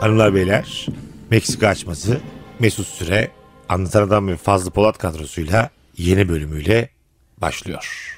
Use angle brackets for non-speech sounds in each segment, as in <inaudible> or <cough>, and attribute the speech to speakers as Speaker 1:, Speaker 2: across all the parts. Speaker 1: Hanımlar beyler Meksika açması Mesut Süre Anlatan Adam ve Fazlı Polat kadrosuyla yeni bölümüyle başlıyor.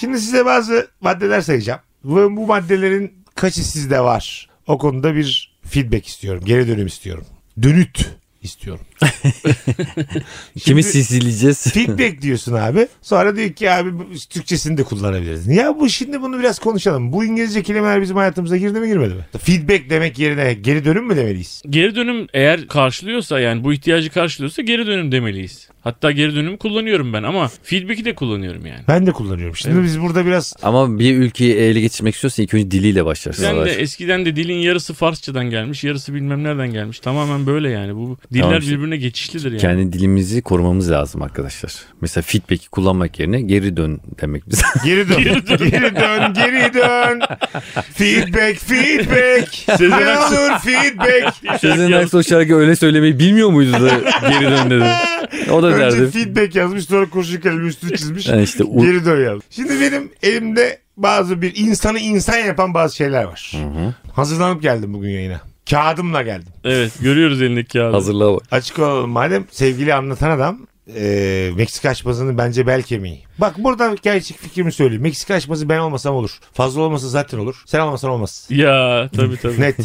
Speaker 1: Şimdi size bazı maddeler sayacağım. Ve bu maddelerin kaçı sizde var? O konuda bir feedback istiyorum. Geri dönüm istiyorum. Dönüt istiyorum.
Speaker 2: Kimi
Speaker 1: Şimdi-
Speaker 2: sisileyeceğiz?
Speaker 1: Feedback diyorsun abi. Sonra diyor ki abi bu- Türkçesini de kullanabiliriz. Ya bu şimdi bunu biraz konuşalım. Bu İngilizce kelimeler bizim hayatımıza girdi mi girmedi mi? Feedback demek yerine geri dönüm mü demeliyiz?
Speaker 3: Geri dönüm eğer karşılıyorsa yani bu ihtiyacı karşılıyorsa geri dönüm demeliyiz. Hatta geri dönümü kullanıyorum ben ama feedback'i de kullanıyorum yani.
Speaker 1: Ben de kullanıyorum. Şimdi biz burada biraz
Speaker 2: Ama bir ülkeyi ele geçirmek istiyorsan ilk önce diliyle başlarsın.
Speaker 3: Sen de
Speaker 2: Savaş.
Speaker 3: eskiden de dilin yarısı Farsçadan gelmiş, yarısı bilmem nereden gelmiş. Tamamen böyle yani. Bu diller
Speaker 2: Tamam işte.
Speaker 3: birbirine geçişlidir yani.
Speaker 2: Kendi dilimizi korumamız lazım arkadaşlar. Mesela feedback'i kullanmak yerine geri dön demek <laughs> bize.
Speaker 1: geri dön. geri dön, geri dön. Feedback, feedback.
Speaker 3: Sezen
Speaker 1: ne
Speaker 3: Aksu.
Speaker 1: olur feedback.
Speaker 2: Sezen Aksu o şarkıyı öyle söylemeyi bilmiyor
Speaker 1: <laughs>
Speaker 2: muydu da geri dön dedi. O da
Speaker 1: Önce
Speaker 2: derdi.
Speaker 1: feedback yazmış sonra kurşun kalemi üstünü çizmiş.
Speaker 2: Yani işte u-
Speaker 1: Geri dön yazmış. Şimdi benim elimde bazı bir insanı insan yapan bazı şeyler var. Hazırlanıp geldim bugün yayına. Kağıdımla geldim.
Speaker 3: Evet görüyoruz elindeki kağıdı.
Speaker 2: hazırlığa bak. <laughs>
Speaker 1: Açık olalım madem sevgili anlatan adam e, Meksika açmasının bence bel kemiği. Bak burada gerçek fikrimi söyleyeyim. Meksika açması ben olmasam olur. Fazla olmasa zaten olur. Sen olmasan
Speaker 3: <laughs>
Speaker 1: olmaz.
Speaker 3: Ya tabii tabii. <laughs>
Speaker 1: Net.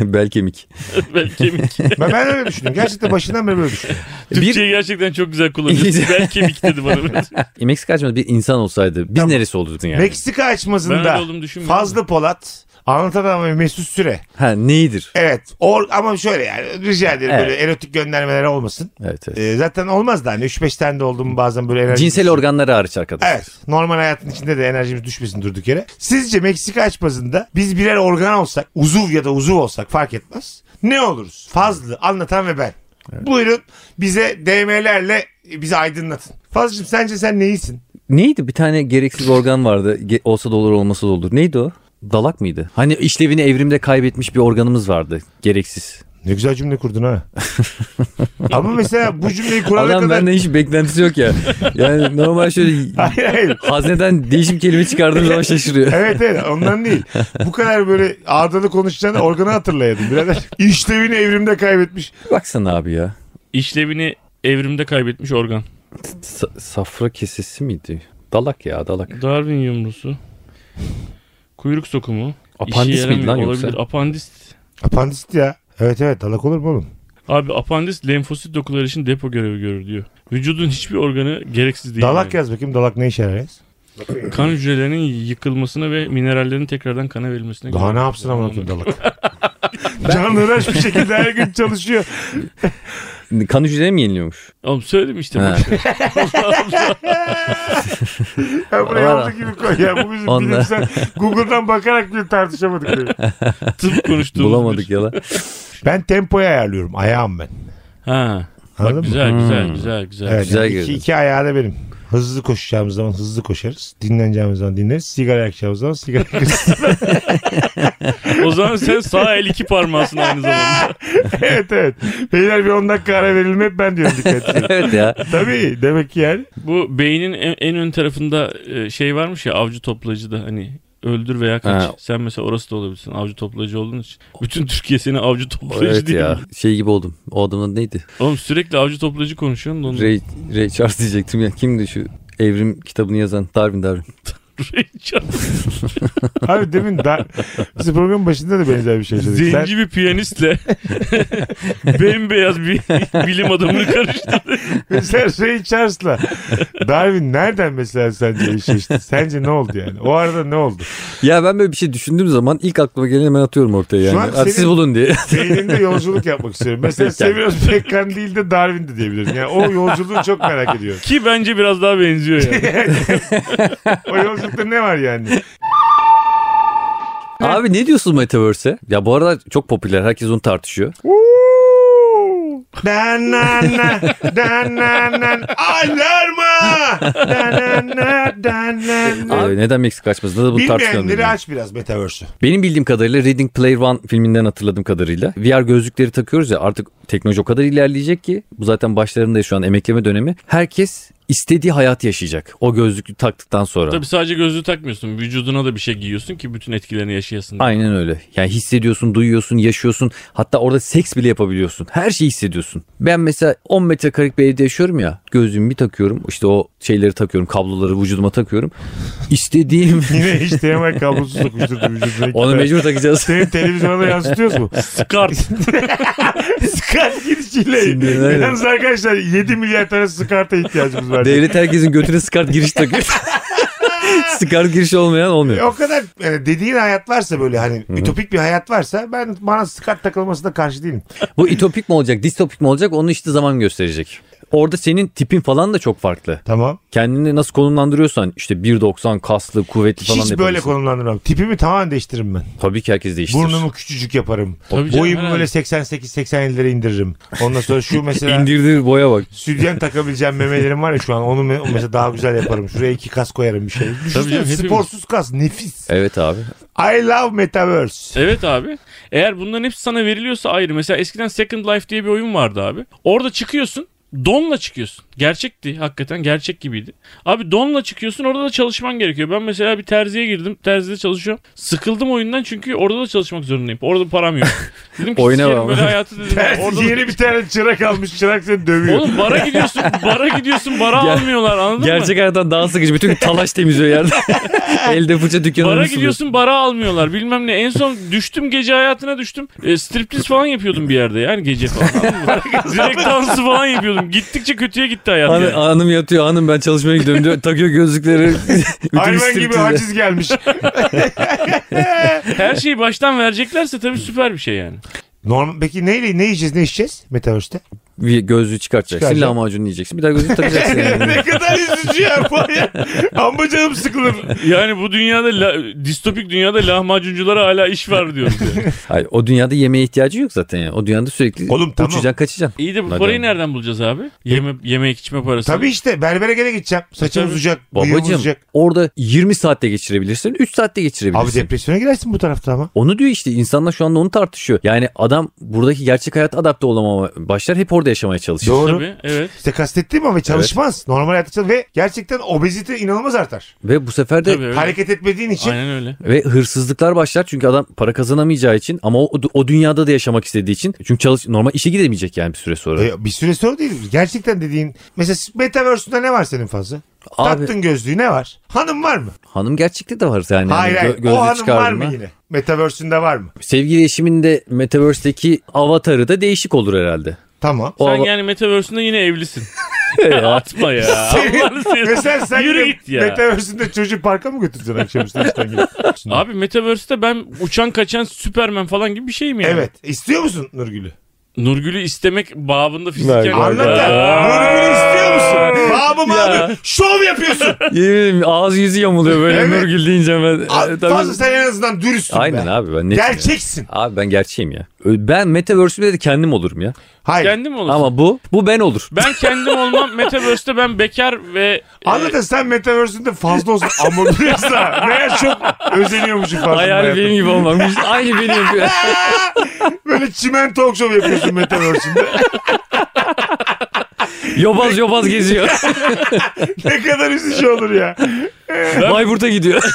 Speaker 2: Bel kemik.
Speaker 3: Bel kemik.
Speaker 1: Ben, ben öyle düşündüm. Gerçekten başından beri böyle düşündüm.
Speaker 3: Türkçeyi
Speaker 2: <laughs> Bir
Speaker 3: gerçekten çok güzel kullanıyorsun. Bel kemik dedi
Speaker 2: <laughs>
Speaker 3: bana. biraz.
Speaker 2: E, Meksika açmadı bir insan olsaydı biz
Speaker 1: Tamam.
Speaker 2: neresi olurdun yani?
Speaker 1: Meksika
Speaker 3: Ben öyle
Speaker 1: açmasında
Speaker 3: olduğumu düşünmüyorum.
Speaker 1: Fazlı Polat Anlatan adam ve Mesut Süre.
Speaker 2: ha neyidir?
Speaker 1: Evet. Or, ama şöyle yani rica ederim
Speaker 2: Evet.
Speaker 1: böyle erotik göndermeler olmasın.
Speaker 2: Evet, evet.
Speaker 1: E, zaten olmaz da hani 3-5 tane de oldu mu bazen böyle enerji.
Speaker 2: Cinsel organları hariç arkadaşlar.
Speaker 1: E, Evet. Normal hayatın içinde de enerjimiz düşmesin durduk yere. Sizce Meksika açmasında biz birer organ olsak, uzuv ya da uzuv olsak fark etmez. Ne oluruz? Fazlı, anlatan ve ben. Buyurun bize DM'lerle bizi aydınlatın. Fazlıcığım sence sen neyisin?
Speaker 2: Neydi bir tane gereksiz organ vardı. Ge- olsa da olur olmasa da olur. Neydi o? Dalak mıydı? Hani işlevini evrimde kaybetmiş bir organımız vardı. Gereksiz.
Speaker 1: Ne güzel cümle kurdun ha. Ama mesela bu cümleyi kurana
Speaker 2: Adam
Speaker 1: kadar...
Speaker 2: benden hiç beklentisi yok
Speaker 3: <laughs>
Speaker 2: ya. Yani normal şöyle
Speaker 1: <laughs> Hayır hayır.
Speaker 2: hazneden değişim kelime çıkardığım zaman şaşırıyor.
Speaker 1: Evet evet ondan değil. Bu kadar böyle ağdalı konuşacağını organı hatırlayadım birader. İşlevini evrimde kaybetmiş.
Speaker 2: Baksana abi ya.
Speaker 3: İşlevini evrimde kaybetmiş organ.
Speaker 2: Sa- safra kesesi miydi? Dalak ya dalak.
Speaker 3: Darwin yumrusu. Kuyruk sokumu. İşe
Speaker 2: Apandis miydi
Speaker 3: yaramıyor.
Speaker 2: lan
Speaker 3: olabilir.
Speaker 2: yoksa?
Speaker 3: Apandist.
Speaker 1: Apandisit ya. Evet evet dalak olur mu oğlum?
Speaker 3: Abi apandist lenfosit dokuları için depo görevi görür diyor. Vücudun hiçbir organı gereksiz değil.
Speaker 1: Dalak
Speaker 3: yani.
Speaker 1: yaz bakayım dalak ne işe yarar? yaz?
Speaker 3: Kan hücrelerinin yıkılmasına ve minerallerin tekrardan kana verilmesine.
Speaker 1: Daha
Speaker 3: göre-
Speaker 1: ne yapsın amına koyayım dalak? Can uğraş bir şekilde her gün çalışıyor.
Speaker 2: Kan hücreleri mi yeniliyormuş?
Speaker 3: Oğlum söyledim işte.
Speaker 2: Ha.
Speaker 3: boş ver.
Speaker 1: Ya buraya
Speaker 2: Valla.
Speaker 1: olduğu gibi koy. Ya bu bizim
Speaker 2: Onunla-
Speaker 1: bilimsel Google'dan bakarak bile tartışamadık. böyle.
Speaker 2: <laughs>
Speaker 3: Tıp konuştuğumuz.
Speaker 2: Bulamadık
Speaker 3: bir-
Speaker 2: ya
Speaker 3: <laughs>
Speaker 2: lan.
Speaker 1: Ben tempoyu ayarlıyorum. Ayağım ben.
Speaker 3: Ha.
Speaker 1: Anladın mı?
Speaker 3: Güzel
Speaker 2: Hmm.
Speaker 3: güzel güzel güzel.
Speaker 1: Evet,
Speaker 2: Güzel
Speaker 1: yani iki,
Speaker 2: girdin.
Speaker 1: iki ayağı da benim. Hızlı koşacağımız zaman hızlı koşarız. Dinleneceğimiz zaman dinleriz. Sigara yakacağımız zaman sigara yakarız.
Speaker 3: O zaman sen sağ el iki parmağısın aynı zamanda.
Speaker 1: <laughs> evet evet. Beyler bir 10 dakika ara verelim hep ben diyorum dikkat
Speaker 2: <laughs>
Speaker 1: edin.
Speaker 2: evet ya.
Speaker 1: Tabii demek ki yani.
Speaker 3: Bu beynin en, en ön tarafında e, şey varmış ya avcı toplayıcı da hani öldür veya kaç.
Speaker 2: Ha.
Speaker 3: Sen mesela orası da olabilirsin avcı toplayıcı olduğun için. Bütün Türkiye seni avcı toplayıcı
Speaker 2: Evet
Speaker 3: değil
Speaker 2: ya.
Speaker 3: mi?
Speaker 2: Şey gibi oldum. O adamın adı neydi?
Speaker 3: Oğlum sürekli avcı toplayıcı konuşuyorsun da onu.
Speaker 2: Ray, Ray Charles diyecektim ya. Kimdi şu evrim kitabını yazan? Darwin Darwin.
Speaker 3: Ray Charles.
Speaker 1: Abi demin da, biz programın başında da benzer bir şey söyledik. Sen-
Speaker 3: Zenci bir piyanistle bembeyaz bir bilim adamını karıştırdı.
Speaker 1: Mesela Ray Charles'la Darwin nereden mesela sence eşleşti? Sence ne oldu yani? O arada ne oldu?
Speaker 2: Ya ben böyle bir şey düşündüğüm zaman ilk aklıma geleni hemen atıyorum ortaya
Speaker 1: Şu
Speaker 2: yani.
Speaker 1: an
Speaker 2: Abi
Speaker 1: senin-
Speaker 2: Siz
Speaker 1: <laughs>
Speaker 2: bulun diye. <laughs>
Speaker 1: Beynimde yolculuk yapmak istiyorum. Mesela
Speaker 2: Peki.
Speaker 1: Semir Özbekkan değil de Darwin de diyebilirim. Yani o yolculuğu çok merak ediyorum. <laughs>
Speaker 3: Ki bence biraz daha benziyor yani.
Speaker 1: O yolculukta ne var yani?
Speaker 2: Abi ne diyorsun Metaverse'e? Ya bu arada çok popüler. Herkes onu tartışıyor.
Speaker 1: Dan nan nan, dan nan nan, alarma! Dan nan nan, dan nan nan.
Speaker 2: Ee, neden Meksika açmasında da bunu tartışıyorlar.
Speaker 1: Bilmeyenleri aç biraz
Speaker 2: <laughs>
Speaker 1: Metaverse'ü.
Speaker 2: Benim bildiğim kadarıyla Reading Player One filminden hatırladığım kadarıyla VR gözlükleri takıyoruz ya artık teknoloji o kadar ilerleyecek ki bu zaten başlarında şu an emekleme dönemi. Herkes istediği hayat yaşayacak. O gözlüklü taktıktan sonra.
Speaker 3: Tabii sadece gözlüğü takmıyorsun. Vücuduna da bir şey giyiyorsun ki bütün etkilerini yaşayasın. diye.
Speaker 2: Aynen öyle. Yani hissediyorsun, duyuyorsun, yaşıyorsun. Hatta orada seks bile yapabiliyorsun. Her şeyi hissediyorsun. Ben mesela 10 metrekarelik bir evde yaşıyorum ya. Gözlüğümü bir takıyorum. İşte o şeyleri takıyorum. Kabloları vücuduma takıyorum. İstediğim...
Speaker 1: <laughs>
Speaker 2: <laughs>
Speaker 1: Yine HDMI kablosu sokmuştur vücuduna. iki
Speaker 2: Onu
Speaker 1: tane.
Speaker 2: mecbur
Speaker 1: <laughs>
Speaker 2: takacağız.
Speaker 1: Senin televizyona da yansıtıyoruz mu?
Speaker 3: Skart.
Speaker 1: Skart girişiyle.
Speaker 2: Şimdi, evet.
Speaker 1: Yalnız arkadaşlar 7 milyar tane Skart'a ihtiyacımız var.
Speaker 2: Devlet herkesin götüne skart giriş takıyor. <laughs> skart giriş olmayan
Speaker 1: E,
Speaker 2: olmuyor.
Speaker 1: o kadar yani dediğin hayat varsa böyle hani ütopik bir hayat varsa ben bana skart takılmasına karşı değilim.
Speaker 2: Bu itopik mi olacak, distopik mi olacak onu işte zaman gösterecek. Orada senin tipin falan da çok farklı.
Speaker 1: Tamam.
Speaker 2: Kendini nasıl konumlandırıyorsan işte 1.90 kaslı, kuvvetli falan
Speaker 1: Hiç böyle
Speaker 2: yapabilirsin.
Speaker 1: konumlandırmam. Tipimi tamamen değiştiririm ben.
Speaker 2: Tabii ki herkes değiştirir.
Speaker 1: Burnumu küçücük yaparım.
Speaker 3: Tabii canım,
Speaker 1: Boyumu
Speaker 3: herhalde.
Speaker 1: böyle 88-87'lere indiririm. Ondan sonra
Speaker 3: <laughs>
Speaker 1: şu mesela
Speaker 2: İndirdir boya bak.
Speaker 1: sütyen takabileceğim memelerim var ya şu an onu me- mesela daha güzel yaparım. Şuraya iki kas koyarım bir şey. Düşünsene
Speaker 3: canım, hepimiz-
Speaker 1: sporsuz kas nefis.
Speaker 2: Evet abi.
Speaker 1: I love metaverse.
Speaker 3: Evet abi. Eğer bunların hepsi sana veriliyorsa ayrı. Mesela eskiden Second Life diye bir oyun vardı abi. Orada çıkıyorsun. Donla çıkıyorsun. Gerçekti. Hakikaten gerçek gibiydi. Abi donla çıkıyorsun. Orada da çalışman gerekiyor. Ben mesela bir terziye girdim. Terzide çalışıyorum. Sıkıldım oyundan çünkü orada da çalışmak zorundayım. Orada param yok. Dedim ki
Speaker 2: Oynamam.
Speaker 3: sikerim böyle
Speaker 1: <laughs>
Speaker 3: hayatı dedim. orada da-
Speaker 1: Yeni bir tane çırak almış çırak seni dövüyor.
Speaker 3: Oğlum bara gidiyorsun. Bara gidiyorsun. Bara
Speaker 2: Ger-
Speaker 3: almıyorlar anladın mı?
Speaker 2: Gerçek hayattan daha sıkıcı. Bütün talaş
Speaker 1: <laughs>
Speaker 2: temizliyor yerde. Elde fırça dükkanı
Speaker 3: Bara
Speaker 2: nasıl
Speaker 3: gidiyorsun bara almıyorlar bilmem ne. En son düştüm gece hayatına düştüm. E, striptiz falan yapıyordum bir yerde yani gece falan.
Speaker 1: <laughs>
Speaker 3: anladın mı? Direkt dansı falan yapıyordum. Gittikçe kötüye gitti hayat
Speaker 2: buluyorsun?
Speaker 3: yani.
Speaker 2: Hanım, Hani hanım yatıyor hanım ben çalışmaya gidiyorum diyor. Takıyor gözlükleri. <laughs> Bütün
Speaker 1: Hayvan gibi
Speaker 2: striptizle.
Speaker 1: haciz gelmiş. <laughs>
Speaker 3: Her şeyi baştan vereceklerse tabii süper bir şey yani.
Speaker 1: Normal, peki neyle ne yiyeceğiz ne içeceğiz Metaverse'te?
Speaker 2: Bir gözlüğü çıkartacaksın.
Speaker 1: Çıkaracağım.
Speaker 2: Lahmacunu yiyeceksin. Bir daha
Speaker 1: <laughs>
Speaker 2: gözlüğü takacaksın.
Speaker 1: <laughs>
Speaker 2: yani.
Speaker 1: ne kadar <laughs> üzücü ya bu hayat. Amma canım sıkılır.
Speaker 3: Yani bu dünyada la- distopik dünyada lahmacunculara hala iş var diyoruz yani.
Speaker 1: <laughs>
Speaker 2: Hayır, o dünyada yemeğe ihtiyacı yok zaten ya. O dünyada sürekli
Speaker 1: Oğlum, tamam.
Speaker 2: uçacaksın kaçacaksın.
Speaker 3: İyi de bu
Speaker 2: Hadi
Speaker 3: parayı
Speaker 2: abi.
Speaker 3: nereden bulacağız abi? Yeme, yemek içme parası.
Speaker 1: E, Tabii işte berbere gene gideceğim. Saçım
Speaker 3: Tabii.
Speaker 1: uzayacak, bıyığım
Speaker 2: Babacım
Speaker 1: uzayacak.
Speaker 2: orada 20 saatte geçirebilirsin 3 saatte geçirebilirsin.
Speaker 1: Abi depresyona girersin bu tarafta ama.
Speaker 2: Onu diyor işte insanlar şu anda onu tartışıyor. Yani adam buradaki gerçek hayata adapte olamama başlar hep orada yaşamaya çalışır.
Speaker 1: Doğru.
Speaker 3: Tabii evet.
Speaker 1: İşte kastettiğim ama çalışmaz. Normal hayatta çalış- ve gerçekten obezite inanılmaz artar.
Speaker 2: Ve bu sefer de
Speaker 3: Tabii öyle.
Speaker 1: Hareket etmediğin için
Speaker 3: Aynen öyle.
Speaker 2: ve hırsızlıklar başlar çünkü adam para kazanamayacağı için ama o, o dünyada da yaşamak istediği için. Çünkü çalış normal işe gidemeyecek yani bir süre sonra.
Speaker 1: E, bir süre sonra değil. Gerçekten dediğin mesela Metaverse'ünde ne var senin fazla?
Speaker 2: Abi
Speaker 1: Taktın gözlüğü ne var? Hanım var mı?
Speaker 2: hanım gerçekte de var yani.
Speaker 1: hayır
Speaker 2: Yani gö-
Speaker 1: hayır.
Speaker 2: gözlüğü
Speaker 1: o hanım var
Speaker 2: çıkardın
Speaker 1: mı
Speaker 2: ha.
Speaker 1: yine? Metaverse'ünde var mı?
Speaker 2: Sevgili eşimin de Metaverse'deki avatarı da değişik olur
Speaker 1: <laughs>
Speaker 2: herhalde.
Speaker 1: Tamam.
Speaker 2: O
Speaker 3: Sen
Speaker 2: ava-
Speaker 3: yani Metaverse'ünde yine
Speaker 1: <laughs>
Speaker 3: evlisin.
Speaker 2: Ya.
Speaker 3: Atma ya. Allah'ını seversen.
Speaker 1: Mesela sen
Speaker 3: <laughs> Yürü
Speaker 1: de
Speaker 3: git ya.
Speaker 1: Metaverse'ünde çocuğu parka mı götüreceksin akşam üstü işten gelip?
Speaker 3: Abi Metaverse'de ben uçan kaçan Superman falan gibi bir şeyim yani.
Speaker 1: Evet. İstiyor musun Nurgül'ü?
Speaker 3: Nurgül'ü istemek babında fiziken.
Speaker 2: Ver, ver,
Speaker 1: Anlat.
Speaker 2: ver.
Speaker 3: Aa.
Speaker 1: Nurgül'ü istiyor musun? Babam
Speaker 2: Ya.
Speaker 1: abi. Şov
Speaker 2: <laughs>
Speaker 1: yapıyorsun.
Speaker 2: Yemin ederim ağzı yüzü yamuluyor böyle
Speaker 1: Evet.
Speaker 2: Nurgül deyince ben.
Speaker 1: Abi,
Speaker 2: E, tabii-
Speaker 1: Fazla sen en azından dürüstsün
Speaker 2: Aynen
Speaker 1: be.
Speaker 2: abi ben net.
Speaker 1: Gerçeksin.
Speaker 2: Abi ben gerçeğim ya. Ben Metaverse'ümde de kendim olurum ya.
Speaker 1: Hayır.
Speaker 3: Kendim olursun.
Speaker 2: Ama bu, bu ben olur.
Speaker 3: Ben kendim
Speaker 1: <laughs>
Speaker 3: olmam. Metaverse'de ben bekar ve... e,
Speaker 1: Anladın sen Metaverse'ünde fazla olsun ama duruyorsa meğer çok özeniyormuşum fazla.
Speaker 2: Hayal benim gibi olmamış. Aynı benim yapıyor.
Speaker 1: <laughs> Böyle çimen talk show yapıyorsun Metaverse'ünde.
Speaker 2: Yobaz yobaz geziyor.
Speaker 1: ne kadar üzücü olur ya.
Speaker 2: Bayburt'a gidiyor. <laughs>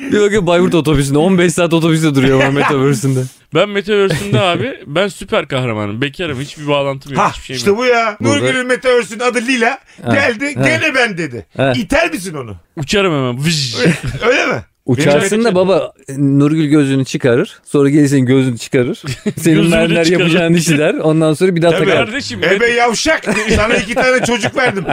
Speaker 2: Bir bakın Bayburt otobüsünde. 15 saat otobüste duruyor ben Metaverse'ünde.
Speaker 3: Ben Metaverse'de abi ben süper kahramanım. Bekarım. Hiçbir bağlantım yok.
Speaker 1: Ha
Speaker 3: hiçbir şeyim
Speaker 1: işte
Speaker 3: yok.
Speaker 1: bu ya.
Speaker 2: şey Burada-
Speaker 1: Nurgül'ün Metaverse'ünün adı Lila.
Speaker 2: Ha,
Speaker 1: Geldi
Speaker 2: ha.
Speaker 1: gene ben dedi.
Speaker 2: Ha.
Speaker 1: İter misin onu?
Speaker 3: Uçarım hemen. Vış.
Speaker 1: <laughs> Öyle mi?
Speaker 2: Uçarsın da baba Nurgül gözünü çıkarır. Sonra gelir senin gözünü
Speaker 3: <laughs>
Speaker 2: çıkarır. Senin
Speaker 3: Gözünü
Speaker 2: mermer
Speaker 3: çıkarır.
Speaker 2: yapacağın işi der. Ondan sonra bir daha
Speaker 1: Tabii.
Speaker 2: takar.
Speaker 3: Kardeşim.
Speaker 1: Ebe yavşak. Sana iki tane çocuk verdim.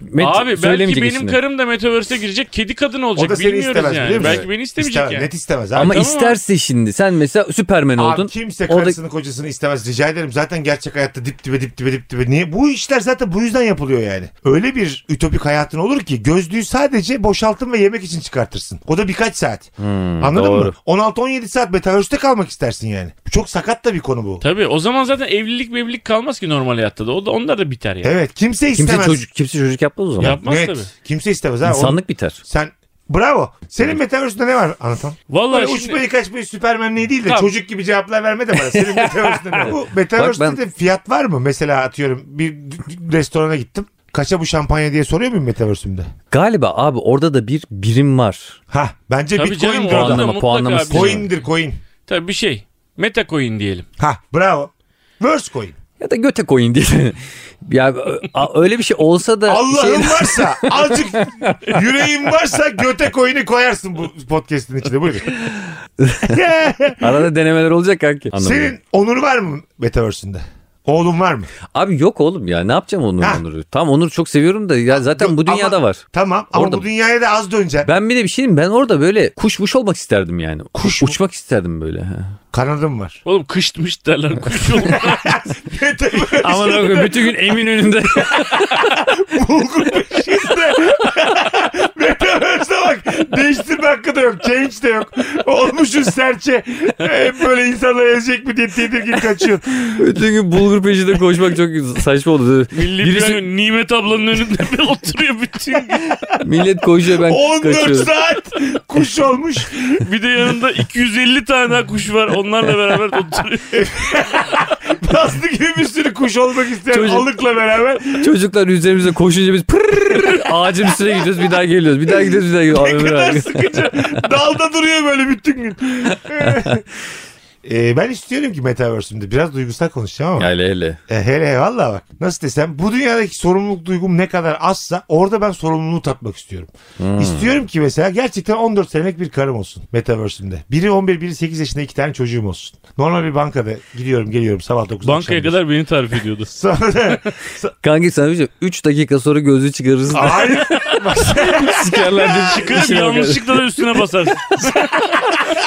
Speaker 2: Met-
Speaker 3: Abi belki
Speaker 2: söylemeyecek
Speaker 3: benim
Speaker 2: ismini.
Speaker 3: karım da Metaverse'e girecek. Kedi kadın olacak.
Speaker 1: O da seni
Speaker 3: Bilmiyoruz
Speaker 1: istemez
Speaker 3: yani.
Speaker 1: biliyor musun?
Speaker 3: Belki beni istemeyecek
Speaker 1: İstemez,
Speaker 3: yani.
Speaker 1: Net istemez abi.
Speaker 2: Ama
Speaker 3: Tamam.
Speaker 2: isterse şimdi sen mesela Süpermen
Speaker 1: Abi
Speaker 2: oldun.
Speaker 1: kimse
Speaker 2: O da-
Speaker 1: karısını kocasını istemez rica ederim. Zaten gerçek hayatta dip dibe dip dibe dip dibe. Niye? Bu işler zaten bu yüzden yapılıyor yani. Öyle bir ütopik hayatın olur ki gözlüğü sadece boşaltın ve yemek için çıkartırsın. O da birkaç saat. Anladın
Speaker 2: Hmm, doğru.
Speaker 1: mı? 16-17 saat metaverse'te kalmak istersin yani. Bu Çok sakat da bir konu bu.
Speaker 3: Tabii o zaman zaten evlilik mevlilik kalmaz ki normal hayatta da. O da onlar da biter yani.
Speaker 1: Evet kimse istemez.
Speaker 2: Kimse çocuk kimse çocuk yapmaz o zaman.
Speaker 3: Yapmaz
Speaker 1: Net.
Speaker 3: tabii.
Speaker 1: Kimse istemez. Ha. Onu-
Speaker 2: İnsanlık biter.
Speaker 1: Sen Bravo. Senin metaverse'ünde ne var anlatan?
Speaker 3: Vallahi
Speaker 1: Böyle
Speaker 3: şimdi...
Speaker 1: uçmayı kaçmayı Süpermen'le değil de
Speaker 3: Tamam.
Speaker 1: çocuk gibi cevaplar verme de bana.
Speaker 3: <laughs>
Speaker 1: Senin Metaverse'de ne var? Bu Metaverse'de
Speaker 2: Bak ben-
Speaker 1: de fiyat var mı? Mesela atıyorum bir d- d- restorana gittim. Kaça bu şampanya diye soruyor muyum Metaverse'ümde?
Speaker 2: Galiba abi orada da bir birim var.
Speaker 1: Ha bence
Speaker 3: Tabii
Speaker 1: E, Bitcoin
Speaker 3: canım,
Speaker 1: de
Speaker 3: o
Speaker 1: orada.
Speaker 3: anda
Speaker 2: Puanlama,
Speaker 3: mutlaka
Speaker 2: puanlama
Speaker 3: bir
Speaker 2: sistemi.
Speaker 3: şey-
Speaker 1: Coin'dir coin.
Speaker 3: Tabii bir şey. Meta coin diyelim.
Speaker 1: Ha bravo. Verse coin.
Speaker 2: Ya da göte koyun diye. <laughs> ya a- öyle bir şey olsa da
Speaker 1: Allah'ın
Speaker 2: şey-
Speaker 1: varsa
Speaker 3: <laughs>
Speaker 1: azıcık yüreğin varsa göte coin'i koyarsın bu podcast'in içine buyurun.
Speaker 2: <laughs> arada denemeler olacak kanki. Anlamadım.
Speaker 1: Senin onur var mı Metaverse'ünde? Oğlum var mı?
Speaker 2: Abi yok oğlum ya ne yapacağım Onur
Speaker 1: Ha.
Speaker 2: Onur'u? Tam Onur çok seviyorum da ya zaten
Speaker 1: Yok,
Speaker 2: bu dünyada
Speaker 1: ama-
Speaker 2: var.
Speaker 1: Tamam ama
Speaker 2: Orada
Speaker 1: bu dünyaya da az döneceksin.
Speaker 2: Ben bir de bir şey diyeyim ben orada böyle kuşmuş olmak isterdim yani.
Speaker 1: Kuş
Speaker 2: Kuş
Speaker 1: mu?
Speaker 2: uçmak isterdim
Speaker 1: <laughs>
Speaker 2: böyle. ha.
Speaker 1: Kanadım var. <laughs>
Speaker 3: Oğlum kışmış derler kuş olur.
Speaker 1: Metaverse
Speaker 2: Aman Allah'ım bütün gün emin önünde.
Speaker 1: bulgur peşinde. <laughs> Metaverse'e bak. Değiştirme hakkı da yok. Change de yok. Olmuşsun serçe. Hep böyle insanlar ezecek mi diye tedirgin
Speaker 2: <laughs>
Speaker 1: kaçıyor.
Speaker 2: <laughs> bütün gün bulgur peşinde koşmak çok saçma oldu.
Speaker 3: Milli
Speaker 2: Birisi-
Speaker 3: Piyango Nimet ablanın önünde bir oturuyor bütün gün.
Speaker 2: Millet koşuyor ben
Speaker 1: 14
Speaker 2: kaçıyorum.
Speaker 1: saat kuş olmuş.
Speaker 3: Bir de yanında 250 tane daha kuş var. Onlarla beraber oturuyor.
Speaker 1: Aslı gibi bir sürü kuş olmak isteyen
Speaker 2: Çocuk.
Speaker 1: alıkla beraber.
Speaker 2: Çocuklar üzerimize koşunca biz pırrrr ağacın üstüne gidiyoruz bir daha geliyoruz. Bir daha gidiyoruz bir daha geliyoruz.
Speaker 1: Ne
Speaker 2: Abi,
Speaker 1: kadar
Speaker 2: abi.
Speaker 1: sıkıcı. Dalda duruyor böyle bütün gün. <laughs> Ee, ben istiyorum ki Metaverse'ümde biraz duygusal konuşacağım ama.
Speaker 2: Hele hele.
Speaker 1: E, hele valla bak nasıl desem bu dünyadaki sorumluluk duygum ne kadar azsa orada ben sorumluluğu tatmak istiyorum. İstiyorum ki mesela gerçekten 14 senelik bir karım olsun Metaverse'ümde. Biri 11 biri 8 yaşında iki tane çocuğum olsun. Normal bir bankada gidiyorum geliyorum sabah 9'da.
Speaker 3: Bankaya kadar beni tarif ediyordu.
Speaker 1: Sonra <laughs>
Speaker 2: Kanki sana bir şey 3 dakika sonra gözü çıkarırsın.
Speaker 1: hayır
Speaker 2: <laughs> Sikerler diye şey
Speaker 3: Çıkarıp
Speaker 2: işine bakar.
Speaker 3: yanlışlıkla da üstüne basarsın.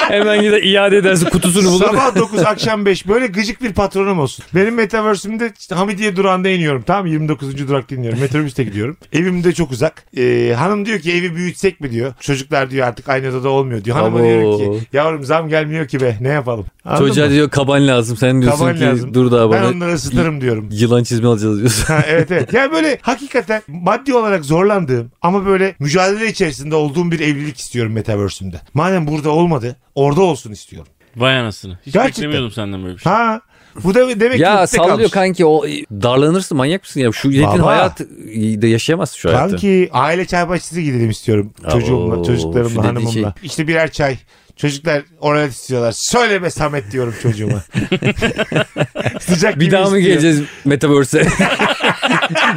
Speaker 2: Hemen gider iade edersin kutusunu bulur.
Speaker 1: sabah 9 akşam 5 böyle gıcık bir patronum olsun. Benim Metaverse'ümde işte Hamidiye durağında iniyorum tamam mı? 29. durakta iniyorum. Metrobüste gidiyorum. <laughs> Evim de çok uzak. Ee, hanım diyor ki evi büyütsek mi diyor. Çocuklar diyor artık aynı odada olmuyor diyor. Hanıma
Speaker 2: Abo.
Speaker 1: diyorum ki yavrum zam gelmiyor ki be ne yapalım. Anladın
Speaker 2: Çocuğa
Speaker 1: mı?
Speaker 2: diyor kaban lazım. Sen diyorsun
Speaker 1: Taban
Speaker 2: ki
Speaker 1: lazım.
Speaker 2: dur daha
Speaker 1: Ben
Speaker 2: bana
Speaker 1: onları ısıtırım diyorum.
Speaker 2: yılan çizme alacağız diyorsun.
Speaker 1: Ha, evet evet. Yani böyle hakikaten maddi olarak zorlandığım ama böyle mücadele içerisinde olduğum bir evlilik istiyorum Metaverse'ümde. Madem burada olmadı orada olsun istiyorum.
Speaker 3: Vay anasını. Hiç
Speaker 1: Gerçekten.
Speaker 3: beklemiyordum senden böyle bir şey.
Speaker 1: Ha bu da demek ki
Speaker 2: ya
Speaker 1: ukde
Speaker 2: sallıyor
Speaker 1: kalmış.
Speaker 2: kanki o e, darlanırsın manyak mısın ya şu milletin
Speaker 1: Baba.
Speaker 2: hayatı da yaşayamaz şu hayatı.
Speaker 1: Kanki aile çay bahçesi gidelim istiyorum.
Speaker 2: Aa,
Speaker 1: Çocuğumla,
Speaker 2: oo, şu
Speaker 1: çocuklarımla,
Speaker 2: dediğin
Speaker 1: hanımımla.
Speaker 2: şey.
Speaker 1: İşte birer çay. Çocuklar oralet istiyorlar. Söyle be Samet diyorum
Speaker 2: <laughs>
Speaker 1: çocuğuma. Sıcak
Speaker 2: Bir
Speaker 1: gibi
Speaker 2: daha mı
Speaker 1: istiyor.
Speaker 2: geleceğiz
Speaker 1: <laughs>
Speaker 2: Metaverse'e?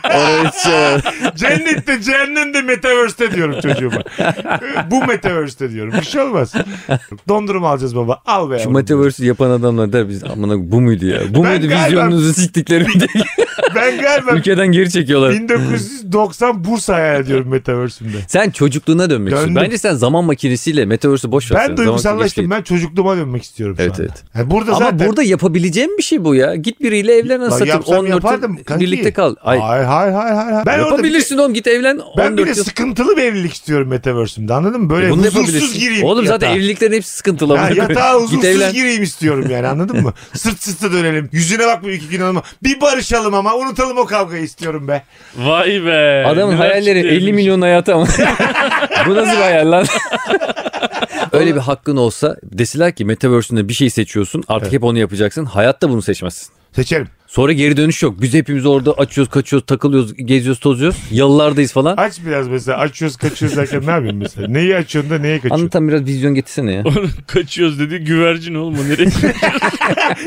Speaker 2: Oraya hiç-
Speaker 1: Cennette, cehennemde, metaverse'te diyorum
Speaker 2: <laughs>
Speaker 1: çocuğuma. Bu metaverse'te diyorum. Bir şey olmaz. Dondurma alacağız baba. Al be
Speaker 2: Şu
Speaker 1: yavrum.
Speaker 2: Metaverse'i yapan adamlar der biz amına bu muydu ya? Bu
Speaker 1: Ben
Speaker 2: muydu
Speaker 1: galiba-
Speaker 2: vizyonunuzu siktikleri diye
Speaker 1: <laughs> Ben galiba
Speaker 2: ülkeden geri çekiyorlar.
Speaker 1: 1990 Bursa hayal ediyorum metaverse'ümde.
Speaker 2: Sen çocukluğuna dönmek
Speaker 1: Döndüm.
Speaker 2: istiyorsun. Bence sen zaman makinesiyle Metaverse'i boş ver. sen.
Speaker 1: Ben
Speaker 2: Zaman makinesi
Speaker 1: duygusallaştım.
Speaker 2: değil.
Speaker 1: Ben çocukluğuma dönmek istiyorum şu
Speaker 2: Evet,
Speaker 1: anda.
Speaker 2: evet.
Speaker 1: Yani burada
Speaker 2: Ama
Speaker 1: zaten...
Speaker 2: burada yapabileceğim bir şey bu ya. Git biriyle evlen
Speaker 1: Lan
Speaker 2: anasını
Speaker 1: yapsam
Speaker 2: satayım. 14
Speaker 1: yapardım kanki.
Speaker 2: birlikte kal. Ay,
Speaker 1: Hayır hayır hayır hayır. hayır. Ben orada bir- şey-
Speaker 2: yapabilirsin oğlum git evlen.
Speaker 1: Ben bir
Speaker 2: 14
Speaker 1: de
Speaker 2: yıl. E,
Speaker 1: sıkıntılı bir evlilik istiyorum Metaverse'ümde anladın mı? Böyle
Speaker 2: Bunu da
Speaker 1: huzursuz
Speaker 2: yapabilirsin.
Speaker 1: gireyim.
Speaker 2: Oğlum zaten
Speaker 1: yatağa.
Speaker 2: evliliklerin hepsi sıkıntılı.
Speaker 1: Ha,
Speaker 2: Amına koyayım.
Speaker 1: yatağa huzursuz
Speaker 2: git evlen.
Speaker 1: gireyim istiyorum yani anladın
Speaker 2: <laughs>
Speaker 1: mı? Sırt sırta dönelim. Yüzüne bakma iki gün hanıma. Bir barışalım ama unutalım o kavgayı istiyorum be.
Speaker 3: Vay be.
Speaker 2: Adamın
Speaker 3: Neler
Speaker 2: hayalleri
Speaker 3: çıktı
Speaker 2: 50
Speaker 3: elimize.
Speaker 2: milyon hayatı
Speaker 1: <laughs>
Speaker 2: ama. Bu nasıl bir hayal lan? Öyle bir hakkın olsa deseler ki Metaverse'ünde bir şey seçiyorsun artık hep onu yapacaksın. Hayatta bunu seçmezsin.
Speaker 1: Seçerim.
Speaker 2: Sonra geri dönüş yok. Biz hepimiz orada açıyoruz, kaçıyoruz, takılıyoruz, geziyoruz, tozuyoruz. Yalılardayız falan.
Speaker 1: Aç biraz mesela. Açıyoruz kaçıyoruz derken ne yapıyorsun mesela? Neyi açıyorsun da neye kaçıyorsun?
Speaker 2: Anlatan biraz vizyon getirsene ya.
Speaker 3: <laughs> Oğlum kaçıyoruz dedi. Güvercin oğlum o nereye?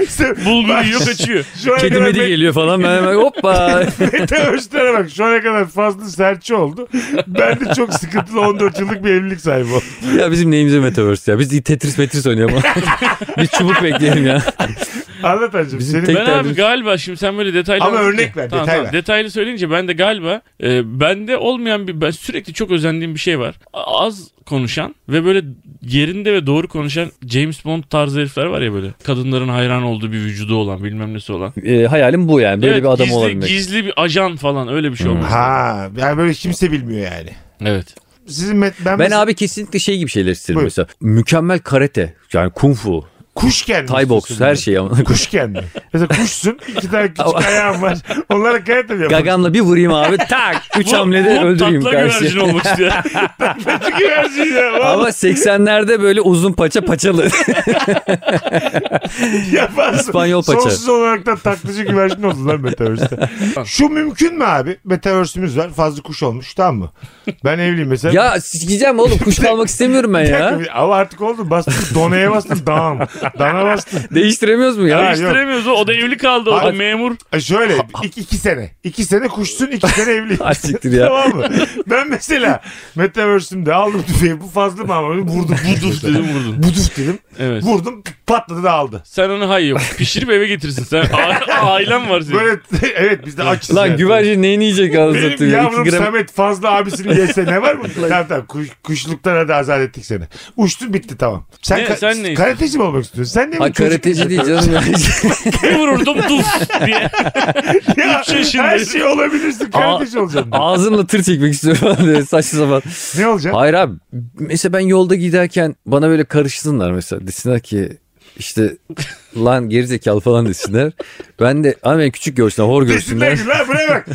Speaker 1: Sen-
Speaker 3: Bulgur
Speaker 1: Bak,
Speaker 3: yiyor kaçıyor.
Speaker 1: <laughs> Şu ana
Speaker 2: Kedi
Speaker 1: kadar
Speaker 2: medi
Speaker 1: met-
Speaker 2: geliyor falan. Ben hemen
Speaker 1: <laughs>
Speaker 2: hoppa.
Speaker 1: Metaverse'lere bak. Şu ana kadar fazla serçe oldu. Ben de çok sıkıntılı 14 yıllık bir evlilik sahibi oldum.
Speaker 2: ya bizim neyimize Metaverse ya. Biz Tetris Metris <laughs> oynayalım. Biz çubuk bekleyelim ya.
Speaker 1: Anlat hacım.
Speaker 2: Bizim
Speaker 1: Senin
Speaker 2: tek-
Speaker 3: Ben abi
Speaker 2: derdimiz-
Speaker 3: galiba şimdi sen böyle detaylı
Speaker 1: Ama
Speaker 3: anlattın
Speaker 1: örnek
Speaker 3: ya.
Speaker 1: ver, detay ver.
Speaker 3: Detaylı söyleyince ben de galiba e, bende olmayan bir ben sürekli çok özendiğim bir şey var. A- Az konuşan ve böyle yerinde ve doğru konuşan James Bond tarzı herifler var ya böyle. Kadınların hayran olduğu bir vücudu olan, bilmem nesi olan.
Speaker 2: Ee, hayalim bu yani. Böyle
Speaker 3: Evet,
Speaker 2: bir adam Hmm.
Speaker 3: gizli,
Speaker 2: olabilmek.
Speaker 3: Gizli bir ajan falan öyle bir şey olmaz.
Speaker 1: Ha, yani böyle kimse bilmiyor yani.
Speaker 3: Evet.
Speaker 1: Sizin met- ben,
Speaker 2: Ben
Speaker 1: mesela-
Speaker 2: abi kesinlikle şey gibi şeyler isterim
Speaker 1: Buyur.
Speaker 2: mesela. Mükemmel karate yani kung fu
Speaker 1: Kuş kendi.
Speaker 2: Thai box her şey ama. <laughs>
Speaker 1: Kuş kendi. Mesela kuşsun. iki tane küçük ayağın var. Onlara karate mi yapıyorsun?
Speaker 2: Gagamla bir vurayım abi
Speaker 1: <laughs>
Speaker 2: tak. Üç hamlede öldüreyim
Speaker 3: tatlı güvercin
Speaker 2: karşı.
Speaker 3: olmak
Speaker 2: <laughs>
Speaker 3: istiyor.
Speaker 1: Çünkü her şey ya.
Speaker 2: Ama 80'lerde böyle uzun
Speaker 1: <laughs>
Speaker 2: paça paçalı.
Speaker 1: Yaparsın.
Speaker 2: İspanyol paça.
Speaker 1: Sonsuz olarak da taklacı güvercin oldu lan
Speaker 2: <laughs>
Speaker 1: Metaverse'de. Şu mümkün mü abi? Metaverse'ümüz var. Fazla kuş olmuş tamam mı? Ben evliyim mesela.
Speaker 2: ya sikeceğim oğlum kuş kalmak istemiyorum ben
Speaker 1: Bir dakika,
Speaker 2: ya.
Speaker 1: bir- Ama artık oldu. Bastın donaya bastın. Dam. Dana bastın.
Speaker 2: Değiştiremiyoruz mu ya?
Speaker 1: Ha, yok.
Speaker 3: Değiştiremiyoruz. o. O da evli kaldı. O da
Speaker 1: Hayır.
Speaker 3: memur.
Speaker 1: E Şöyle iki, iki sene. iki sene kuşsun iki sene
Speaker 2: <laughs>
Speaker 1: evliyim.
Speaker 2: Ay siktir ya.
Speaker 1: tamam mı? Ben mesela Metaverse'ümde aldım tüfeği bu fazla mı ama
Speaker 3: <laughs>
Speaker 1: vurdum. Vurdum
Speaker 3: Buduf dedim vurdun.
Speaker 1: Buduf dedim.
Speaker 3: Evet.
Speaker 1: Vurdum patladı da aldı.
Speaker 3: Sen onu hayır yok. Pişirip eve getirsin. Sen a- <laughs> ailen var senin.
Speaker 1: Böyle <laughs> evet biz de açız.
Speaker 2: Lan
Speaker 1: yani.
Speaker 2: güvercin neyini yiyecek anasını
Speaker 1: Benim
Speaker 2: satayım.
Speaker 1: yavrum
Speaker 2: İki gram
Speaker 1: Samet fazla abisini yese ne
Speaker 2: <laughs>
Speaker 1: var mı? tamam tamam kuş, kuşluktan hadi azat ettik seni. Uçtun bitti tamam. Sen,
Speaker 3: Ne,
Speaker 1: ka-
Speaker 3: sen ne
Speaker 1: karateci mi olmak istiyorsun? Sen ne
Speaker 2: Ha,
Speaker 1: mi çocuk?
Speaker 2: karateci değil
Speaker 1: <laughs>
Speaker 2: canım. ya.
Speaker 3: Bir vururdum duf diye.
Speaker 1: Ya,
Speaker 3: Üç yaşındayım.
Speaker 1: her şey olabilirsin. Karateci olacaksın.
Speaker 2: Ağzımla tır çekmek istiyorum falan diye saçma sapan.
Speaker 1: ne olacak?
Speaker 2: Hayır abi mesela ben yolda giderken bana böyle karışsınlar mesela desinler ki işte lan gerizekalı falan desinler. Ben de abi beni küçük görsünler hor
Speaker 1: Desinler
Speaker 2: görsünler.
Speaker 1: ki lan buraya
Speaker 3: <laughs>
Speaker 1: bak.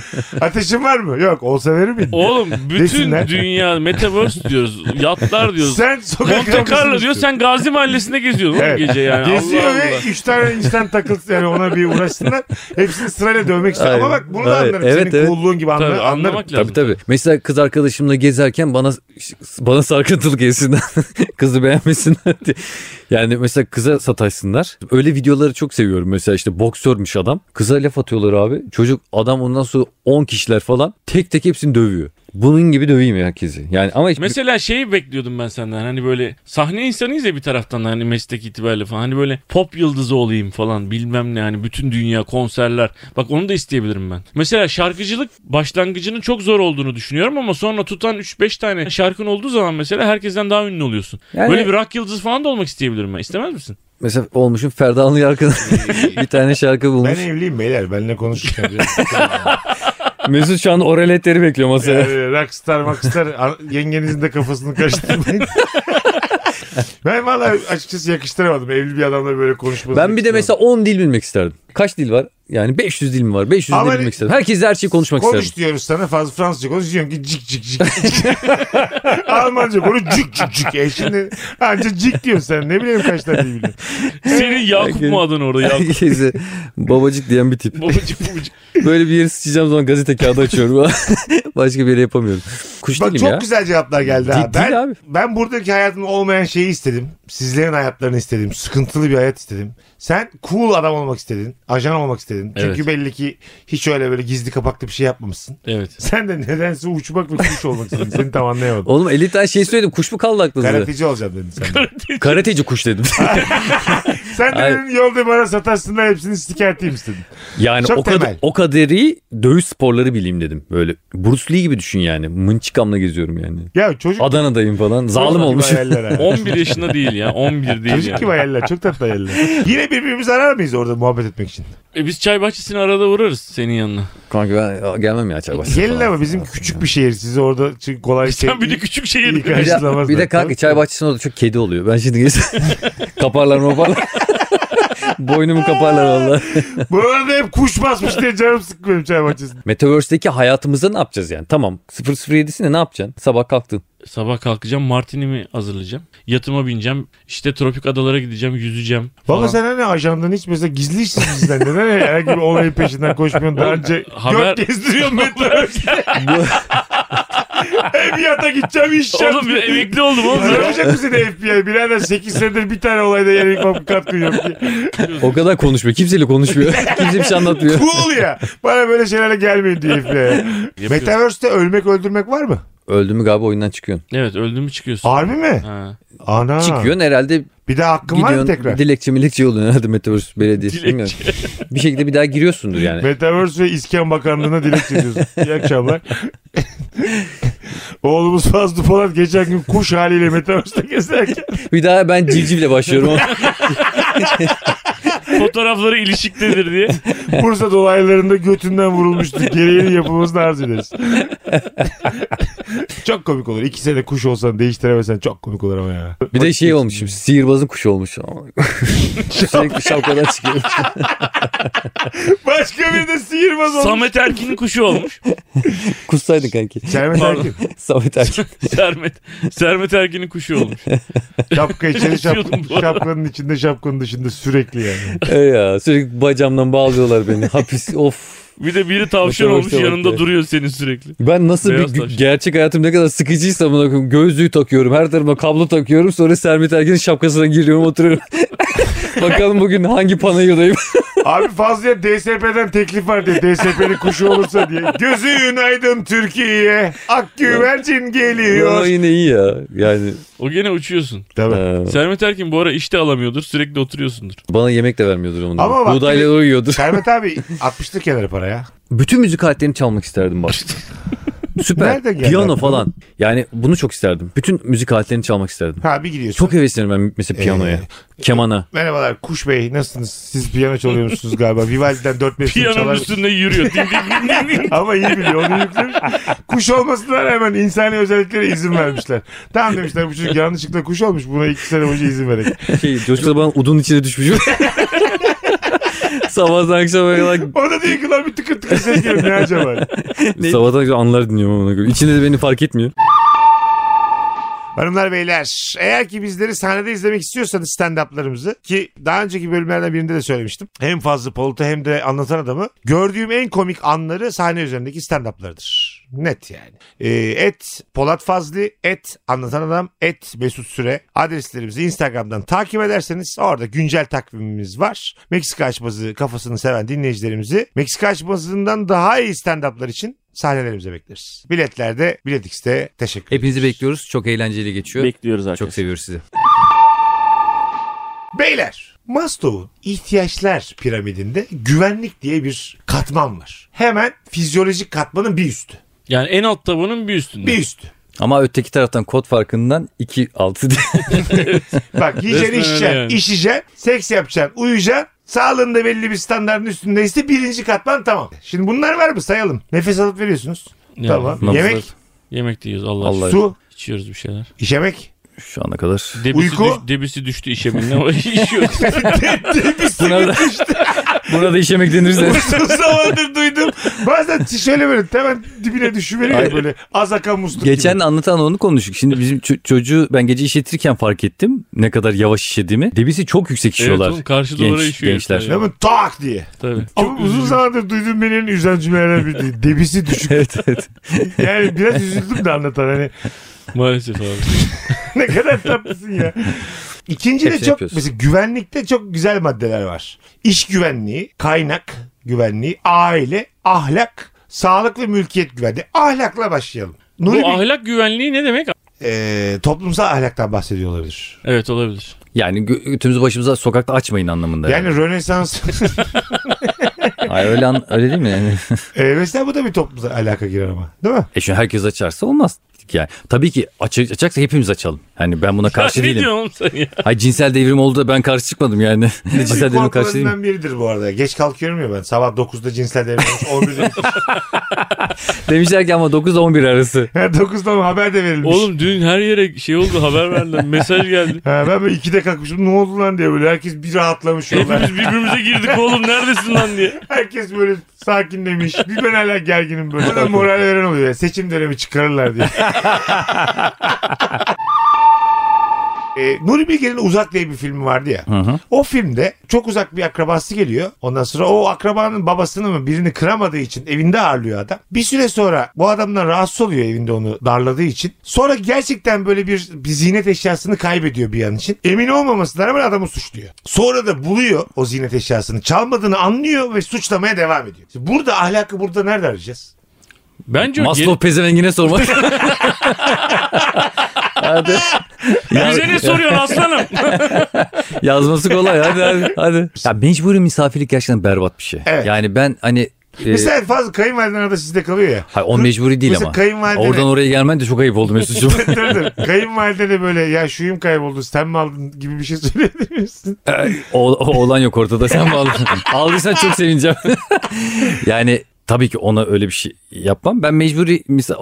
Speaker 1: Ateşin var mı? Yok olsa verir miydin? <laughs>
Speaker 3: Oğlum bütün
Speaker 1: Desinler.
Speaker 3: dünya metaverse diyoruz. Yatlar diyoruz.
Speaker 1: Sen sokak
Speaker 3: Monte
Speaker 1: kavgasını
Speaker 3: Carlo diyor
Speaker 1: istiyorsun.
Speaker 3: sen Gazi Mahallesi'nde geziyorsun oğlum
Speaker 1: Evet.
Speaker 3: gece yani.
Speaker 1: <laughs> Geziyor
Speaker 3: Allah
Speaker 1: ve
Speaker 3: Allah.
Speaker 1: üç tane insan takılsın yani ona bir uğraşsınlar. Hepsini sırayla dövmek istiyor. Ama
Speaker 2: Aynen.
Speaker 1: bak bunu da
Speaker 2: Aynen.
Speaker 1: anlarım.
Speaker 2: Evet,
Speaker 1: Senin
Speaker 2: evet.
Speaker 1: coolluğun gibi anlar,
Speaker 3: Tabii,
Speaker 1: anlarım.
Speaker 3: anlamak lazım.
Speaker 2: Tabii tabii. Mesela kız arkadaşımla gezerken bana bana sarkıntılı gelsinler. <laughs> Kızı beğenmesinler diye. Yani mesela kıza sataşsınlar. Öyle videoları çok seviyorum. Mesela işte boksörmüş adam. Kıza laf atıyorlar abi. Çocuk adam ondan sonra 10 kişiler falan tek tek hepsini dövüyor. Bunun gibi döveyim ya herkesi. Yani ama hiç
Speaker 3: Mesela şeyi bekliyordum ben senden hani böyle sahne insanıyız ya bir taraftan da hani meslek itibariyle falan hani böyle pop yıldızı olayım falan bilmem ne hani bütün dünya konserler bak onu da isteyebilirim ben. Mesela şarkıcılık başlangıcının çok zor olduğunu düşünüyorum ama sonra tutan 3-5 tane şarkın olduğu zaman mesela herkesten daha ünlü oluyorsun.
Speaker 2: Yani-
Speaker 3: Böyle bir rock yıldızı falan da olmak isteyebilirim ben istemez misin?
Speaker 2: mesela olmuşum Ferda Anlı arkadaş <laughs> bir tane şarkı bulmuş.
Speaker 1: Ben evliyim beyler. Benimle konuşurken.
Speaker 3: <laughs>
Speaker 1: biraz-
Speaker 2: Mesut şu anda oraletleri bekliyor masaya.
Speaker 1: Yani rockstar rockstar an- yengenizin de kafasını
Speaker 3: <laughs>
Speaker 1: karıştırmayın. ben valla açıkçası yakıştıramadım evli bir adamla böyle konuşmasını.
Speaker 2: Ben bir de
Speaker 1: yakıştıramadım.
Speaker 2: mesela 10 dil bilmek isterdim. Kaç dil var? Yani 500 dil mi var? 500
Speaker 1: Ama- hani
Speaker 2: dil bilmek isterdim. Herkesle her şeyi konuşmak
Speaker 1: Konuş
Speaker 2: isterdim. <laughs>
Speaker 1: diyoruz sana fazla Fransızca konuş diyorsun ki cik cik <laughs> cik. cik. Almanca konuş cik cik cik. E şimdi anca cik diyorsun sen ne bileyim kaç tane dil
Speaker 2: <laughs>
Speaker 1: biliyorsun.
Speaker 3: Senin Yakup mu adın orada Yakup?
Speaker 2: Herkese babacık diyen bir tip.
Speaker 3: Babacık babacık.
Speaker 2: Böyle bir yeri sıçacağım zaman gazete kağıdı açıyorum. <laughs> Başka bir yere yapamıyorum. Kuş
Speaker 1: Bak
Speaker 2: değilim
Speaker 1: çok
Speaker 2: ya.
Speaker 1: güzel cevaplar geldi ha.
Speaker 2: Değil- değil
Speaker 1: Ben,
Speaker 2: abi.
Speaker 1: ben buradaki hayatımda olmayan şeyi istedim. Sizlerin hayatlarını istedim. Sıkıntılı bir hayat istedim. Sen cool adam olmak istedin. Ajan olmak istedin. Çünkü
Speaker 3: Evet.
Speaker 1: belli ki hiç öyle böyle gizli kapaklı bir şey yapmamışsın. <laughs>
Speaker 3: Evet.
Speaker 1: Sen de nedense uçmak ve kuş olmak istedin. Seni tam
Speaker 2: <laughs>
Speaker 1: anlayamadım.
Speaker 2: Oğlum 50 tane şey söyledim. Kuş mu kaldı aklınızda?
Speaker 1: Karateci olacağım dedin sen.
Speaker 2: <laughs>
Speaker 1: de.
Speaker 2: Karateci
Speaker 1: <laughs>
Speaker 2: kuş dedim.
Speaker 1: sen de
Speaker 2: Ay.
Speaker 1: dedin yolda bana sataşsınlar hepsini sikerteyim istedin.
Speaker 2: yani
Speaker 1: Çok
Speaker 2: o kadar
Speaker 1: temel.
Speaker 2: o kaderi dövüş sporları bileyim dedim. Böyle Bruce Lee gibi düşün yani. Mınçıkamla geziyorum yani.
Speaker 1: Ya çocuk
Speaker 2: Adana'dayım falan. Zalim
Speaker 1: gibi
Speaker 2: olmuş.
Speaker 1: hayaller
Speaker 3: <laughs>
Speaker 1: ha.
Speaker 3: 11 yaşında değil ya 11 değil
Speaker 1: Çocuk gibi
Speaker 3: yani.
Speaker 1: hayaller. Çok tatlı hayaller. Yine birbirimizi arar mıyız orada muhabbet etmek için?
Speaker 3: E biz çay bahçesini arada uğrarız senin yanına.
Speaker 2: Kanka ben gelmem ya Çaybaşı'na
Speaker 1: E, Gelin
Speaker 2: falan.
Speaker 1: ama bizim küçük bir şehir. Sizi orada çünkü kolay şey.
Speaker 3: Sen bir
Speaker 1: <laughs>
Speaker 3: de küçük
Speaker 1: iyi
Speaker 3: şehir.
Speaker 2: Bir de,
Speaker 1: karşılamazlar.
Speaker 2: bir de kanka çay bahçesinde orada çok kedi oluyor. Ben şimdi gezeyim. <laughs> kaparlar maparlar. <laughs> Boynumu kaparlar valla.
Speaker 1: Buralarda hep kuş basmış diye canım sıkmıyorum çay bahçesinde.
Speaker 2: Metaverse'deki hayatımızda ne yapacağız yani? Tamam 007'sinde ne yapacaksın? Sabah kalktın.
Speaker 3: Sabah kalkacağım martinimi hazırlayacağım. Yatıma bineceğim. İşte tropik adalara gideceğim yüzeceğim.
Speaker 1: Baba
Speaker 3: falan.
Speaker 1: sen hani ajandan hiç mesela gizli işsiz bizden. Neden hani herhangi bir olayın peşinden koşmuyorsun? Daha önce
Speaker 3: haber-
Speaker 1: göt gezdiriyorsun
Speaker 3: <laughs>
Speaker 1: metrobüste. Hem yata gideceğim iş yapacağım.
Speaker 3: Oğlum bir emekli oldum oğlum.
Speaker 1: Aramayacak mı seni FBI? Birader 8 senedir bir tane olayda yere kopuk katkı yok diye.
Speaker 2: O kadar konuşmuyor.
Speaker 1: <laughs>
Speaker 2: Kimseyle konuşmuyor. Kimse bir şey anlatmıyor.
Speaker 3: <laughs>
Speaker 1: Cool ya. Bana böyle şeylerle gelmeyin diye FBI. Metaverse'te ölmek öldürmek var mı?
Speaker 2: Öldü mü galiba oyundan çıkıyorsun.
Speaker 3: evet öldün mü çıkıyorsun.
Speaker 1: Harbi mi?
Speaker 3: Ha.
Speaker 1: Ana.
Speaker 2: Çıkıyorsun herhalde
Speaker 1: Bir de hakkım var mı
Speaker 2: gidiyorsun.
Speaker 1: tekrar?
Speaker 2: Bir dilekçe milekçe oluyorsun herhalde Metaverse Belediyesi.
Speaker 3: Dilekçe.
Speaker 2: bilmiyorum. Bir şekilde bir daha giriyorsundur
Speaker 1: <laughs>
Speaker 2: yani.
Speaker 1: Metaverse ve İskan Bakanlığı'na dilekçe ediyorsun. İyi akşamlar. <laughs> Oğlumuz Fazlı Polat geçen gün kuş haliyle Metaverse'de gezerken
Speaker 2: Bir daha ben
Speaker 1: <laughs>
Speaker 2: civcivle başlıyorum.
Speaker 3: Fotoğrafları ilişiktedir diye.
Speaker 1: Bursa dolaylarında götünden vurulmuştu. Gereğini yapılmasını arz ederiz. <laughs> Çok komik olur. İki sene kuş olsan değiştiremesen çok komik olur ama ya.
Speaker 2: Bir de şey olmuşum. Sihirbazın kuşu olmuş. Sürekli şapkadan çıkıyor.
Speaker 1: Başka bir de sihirbaz olmuş.
Speaker 3: Samet Erkin'in kuşu olmuş.
Speaker 2: Kussaydın kanki. <laughs>
Speaker 1: Sermet
Speaker 3: Pardon. <laughs>
Speaker 1: Erkin.
Speaker 2: Samet Erkin.
Speaker 3: Sermet. Sermet Erkin'in kuşu olmuş.
Speaker 1: Şapka içeri şapka,
Speaker 3: Konuşuyordum bu arada.
Speaker 1: şapkanın içinde şapkanın dışında sürekli yani.
Speaker 2: E ya, sürekli bacağımdan bağlıyorlar beni. Hapis of.
Speaker 3: Bir de biri tavşan
Speaker 2: Başa
Speaker 3: olmuş
Speaker 2: başa bak
Speaker 3: yanında
Speaker 2: ya.
Speaker 3: duruyor senin sürekli.
Speaker 2: Ben nasıl
Speaker 3: Beyaz
Speaker 2: bir
Speaker 3: taş.
Speaker 2: gerçek hayatım ne kadar sıkıcıysa amına koyayım. Gözlüğü takıyorum. Her tarafıma kablo takıyorum. Sonra Sermet Erkin'in şapkasına giriyorum oturuyorum. <laughs> Bakalım bugün hangi panayodayım.
Speaker 1: Abi Fazlı'ya DSP'den teklif var diye DSP'li kuşu olursa diye. Gözün aydın Türkiye'ye. Ak güvercin
Speaker 2: Ama
Speaker 1: geliyor.
Speaker 2: yine iyi ya. Yani
Speaker 3: O gene uçuyorsun.
Speaker 1: Tabii.
Speaker 2: e,
Speaker 3: Sermet Erkin bu ara işte alamıyordur. Sürekli oturuyorsundur.
Speaker 2: bana yemek de vermiyordur onu.
Speaker 1: Ama bak-
Speaker 2: Buğdayla uyuyordur.
Speaker 1: Sermet abi 60'lı kenara para ya.
Speaker 2: Bütün müzik aletlerini çalmak
Speaker 1: <laughs>
Speaker 2: isterdim bak. Süper.
Speaker 1: Nereden geldi
Speaker 2: Piyano
Speaker 1: aklına?
Speaker 2: falan. Yani bunu çok isterdim. Bütün müzik aletlerini çalmak isterdim.
Speaker 1: Ha bir gidiyorsun.
Speaker 2: Çok heveslenirim ben mesela piyanoya.
Speaker 1: Ee,
Speaker 2: Kemana.
Speaker 1: Merhabalar Kuş Bey nasılsınız? Siz piyano çalıyormuşsunuz galiba. Vivaldi'den 4 5
Speaker 3: Piyanonun
Speaker 1: çalar.
Speaker 3: üstünde yürüyor. Din din din din din.
Speaker 1: <laughs> Ama iyi biliyor onu yüklemiş. Kuş olmasına rağmen insani özelliklere izin vermişler. Tamam demişler bu çocuk yanlışlıkla kuş olmuş buna 2 sene boyunca izin vererek.
Speaker 2: Şey, Coşkun bana udun
Speaker 1: <laughs>
Speaker 2: içine düşmüşüm. Sabahtan
Speaker 1: <laughs>
Speaker 2: akşama kadar
Speaker 1: O da diyor ki lan bir tıkır tıkır ses geliyor ne acaba?
Speaker 2: Ne? Sabahtan akşam anılar dinliyorum amına koyayım. İçinde de beni fark etmiyor.
Speaker 1: Hanımlar beyler eğer ki bizleri sahnede izlemek istiyorsanız stand-up'larımızı ki daha önceki bölümlerden birinde de söylemiştim. Hem fazla Polat'ı hem de anlatan adamı gördüğüm en komik anları sahne üzerindeki stand-up'larıdır. Net yani. Ee, et Polat Fazlı, et Anlatan Adam, et Mesut Süre adreslerimizi Instagram'dan takip ederseniz orada güncel takvimimiz var. Meksika açmazı kafasını seven dinleyicilerimizi Meksika açmazından daha iyi stand-up'lar için sahnelerimize bekleriz. Biletlerde, Bilet X'te teşekkür
Speaker 2: Hepinizi bekliyoruz. Çok eğlenceli geçiyor.
Speaker 4: Bekliyoruz arkadaşlar.
Speaker 2: Çok seviyoruz sizi.
Speaker 1: Beyler Maslow'un ihtiyaçlar piramidinde güvenlik diye bir katman var. Hemen fizyolojik katmanın bir üstü.
Speaker 3: Yani en alt tabanın bir üstünde.
Speaker 1: Bir üstü.
Speaker 2: Ama öteki taraftan kod farkından 2-6 diye.
Speaker 3: <laughs>
Speaker 1: Bak yiyeceksin
Speaker 3: Resmen öyle
Speaker 1: içeceksin,
Speaker 3: yani.
Speaker 1: işeceksin, seks yapacaksın, uyuyacaksın. Sağlığında belli bir standartın üstündeyse birinci katman tamam. Şimdi bunlar var mı sayalım. Nefes alıp veriyorsunuz.
Speaker 3: Yani
Speaker 1: tamam.
Speaker 2: nabız
Speaker 1: Yemek,
Speaker 2: alıp-
Speaker 3: Yemek de yiyoruz Allah,
Speaker 2: Allah
Speaker 3: aşkına.
Speaker 1: su,
Speaker 3: İçiyoruz bir şeyler. <laughs>
Speaker 1: işemek.
Speaker 2: Şu
Speaker 1: <laughs>
Speaker 2: ana kadar.
Speaker 3: Debisi,
Speaker 1: Uyku?
Speaker 3: düş- debisi düştü işemin. ama <laughs> işiyoruz.
Speaker 2: Buna da, buna da işemek denirse.
Speaker 1: <laughs> Uzun zamandır duydum. Bazen şöyle böyle hemen dibine düşüveriyor ya böyle. Az akan musluk
Speaker 2: Geçen
Speaker 1: gibi.
Speaker 2: anlatan onu konuştuk. Şimdi bizim ço- çocuğu ben gece işletirken fark ettim. Ne kadar yavaş işediğimi. Debisi çok yüksek işiyorlar.
Speaker 3: oğlum, karşı
Speaker 2: Genç-
Speaker 3: duvara işiyor
Speaker 2: Gençler.
Speaker 3: herifler
Speaker 1: Hemen tak diye.
Speaker 3: Tabii.
Speaker 1: Ama uzun zamandır duyduğum benim üzen cümlelerden biri. Debisi düşük.
Speaker 2: <laughs> <laughs> evet evet.
Speaker 1: Yani biraz üzüldüm de anlatan hani
Speaker 3: Maalesef abi.
Speaker 1: ne kadar tatlısın ya. İkinci de
Speaker 2: Hepsini
Speaker 1: çok
Speaker 2: şey yapıyorsun.
Speaker 1: mesela güvenlikte çok güzel maddeler var. İş güvenliği, kaynak güvenliği, aile, ahlak, sağlık ve mülkiyet güvenliği. Ahlakla başlayalım. Nuri
Speaker 3: Bu
Speaker 1: Bey,
Speaker 3: ahlak güvenliği ne demek?
Speaker 1: e, toplumsal ahlaktan bahsediyor olabilir.
Speaker 3: Evet olabilir.
Speaker 2: Yani gö- götümüzü başımıza sokakta açmayın anlamında.
Speaker 1: Yani Rönesans <laughs>
Speaker 2: Ay, öyle, an- öyle değil mi? Yani- <laughs>
Speaker 1: e, mesela bu da bir toplumsal alaka girer ama. Değil mi?
Speaker 2: E şimdi herkes açarsa olmaz. Yani tabii ki aç, açacaksa hepimiz açalım. Hani ben buna karşı
Speaker 3: ne
Speaker 2: değilim.
Speaker 3: diyorsun oğlum sen ya?
Speaker 2: Hayır cinsel devrim oldu da ben karşı çıkmadım yani. <laughs> cinsel devrim karşı değilim.
Speaker 1: Korkularından Hani biridir bu arada. Geç kalkıyorum ya ben. Sabah 9'da cinsel devrim. <laughs> 11'de
Speaker 2: Demişler ki ama 9 11
Speaker 3: <laughs>
Speaker 2: arası.
Speaker 1: Ha, 9'da mı haber de verilmiş.
Speaker 3: Oğlum dün her yere şey oldu haber verdiler. Mesaj
Speaker 1: <laughs>
Speaker 3: geldi.
Speaker 1: Ha, ben böyle 2'de kalkmışım ne oldu lan diye böyle herkes bir rahatlamış. ya.
Speaker 3: Hepimiz birbirimize girdik oğlum neredesin lan diye.
Speaker 1: Herkes böyle sakinlemiş. Bir ben hala gerginim böyle. Bana moral veren oluyor. ya. Seçim dönemi çıkarırlar diye. E, Nuri Bilge'nin Uzak diye bir filmi vardı ya. O filmde çok uzak bir akrabası geliyor. Ondan sonra o akrabanın babasını mı birini kıramadığı için evinde ağırlıyor adam. Bir süre sonra bu adamdan rahatsız oluyor evinde onu darladığı için. Sonra gerçekten böyle bir, bir ziynet eşyasını kaybediyor bir an için. Emin olmamasına rağmen adamı suçluyor. Sonra da buluyor o ziynet eşyasını. Çalmadığını anlıyor ve suçlamaya devam ediyor. Şimdi burada ahlakı burada nerede arayacağız?
Speaker 3: Bence o
Speaker 2: Maslow pezevengine
Speaker 3: <laughs>
Speaker 2: sorma. hadi.
Speaker 3: geri- Bize ne soruyorsun aslanım?
Speaker 2: Yazması kolay hadi hadi. hadi. Ya mecburi misafirlik gerçekten berbat bir şey.
Speaker 1: Evet.
Speaker 2: Yani ben hani e,
Speaker 1: Mesela fazla kayınvaliden arada sizde kalıyor ya.
Speaker 2: hayır, o mecburi değil
Speaker 1: Mesela
Speaker 2: ama.
Speaker 1: kayınvalidene-
Speaker 2: Oradan oraya gelmen de çok ayıp
Speaker 1: <laughs>
Speaker 2: oldu Mesut'cum.
Speaker 1: Dur dur. Kayınvalidene böyle ya şuyum kayboldu sen mi aldın gibi bir şey söyleyebilir misin?
Speaker 2: O, o olan yok ortada sen mi aldın? <laughs> Aldıysan çok sevineceğim. <laughs> yani tabii ki ona öyle bir şey yapmam. Ben mecburi misal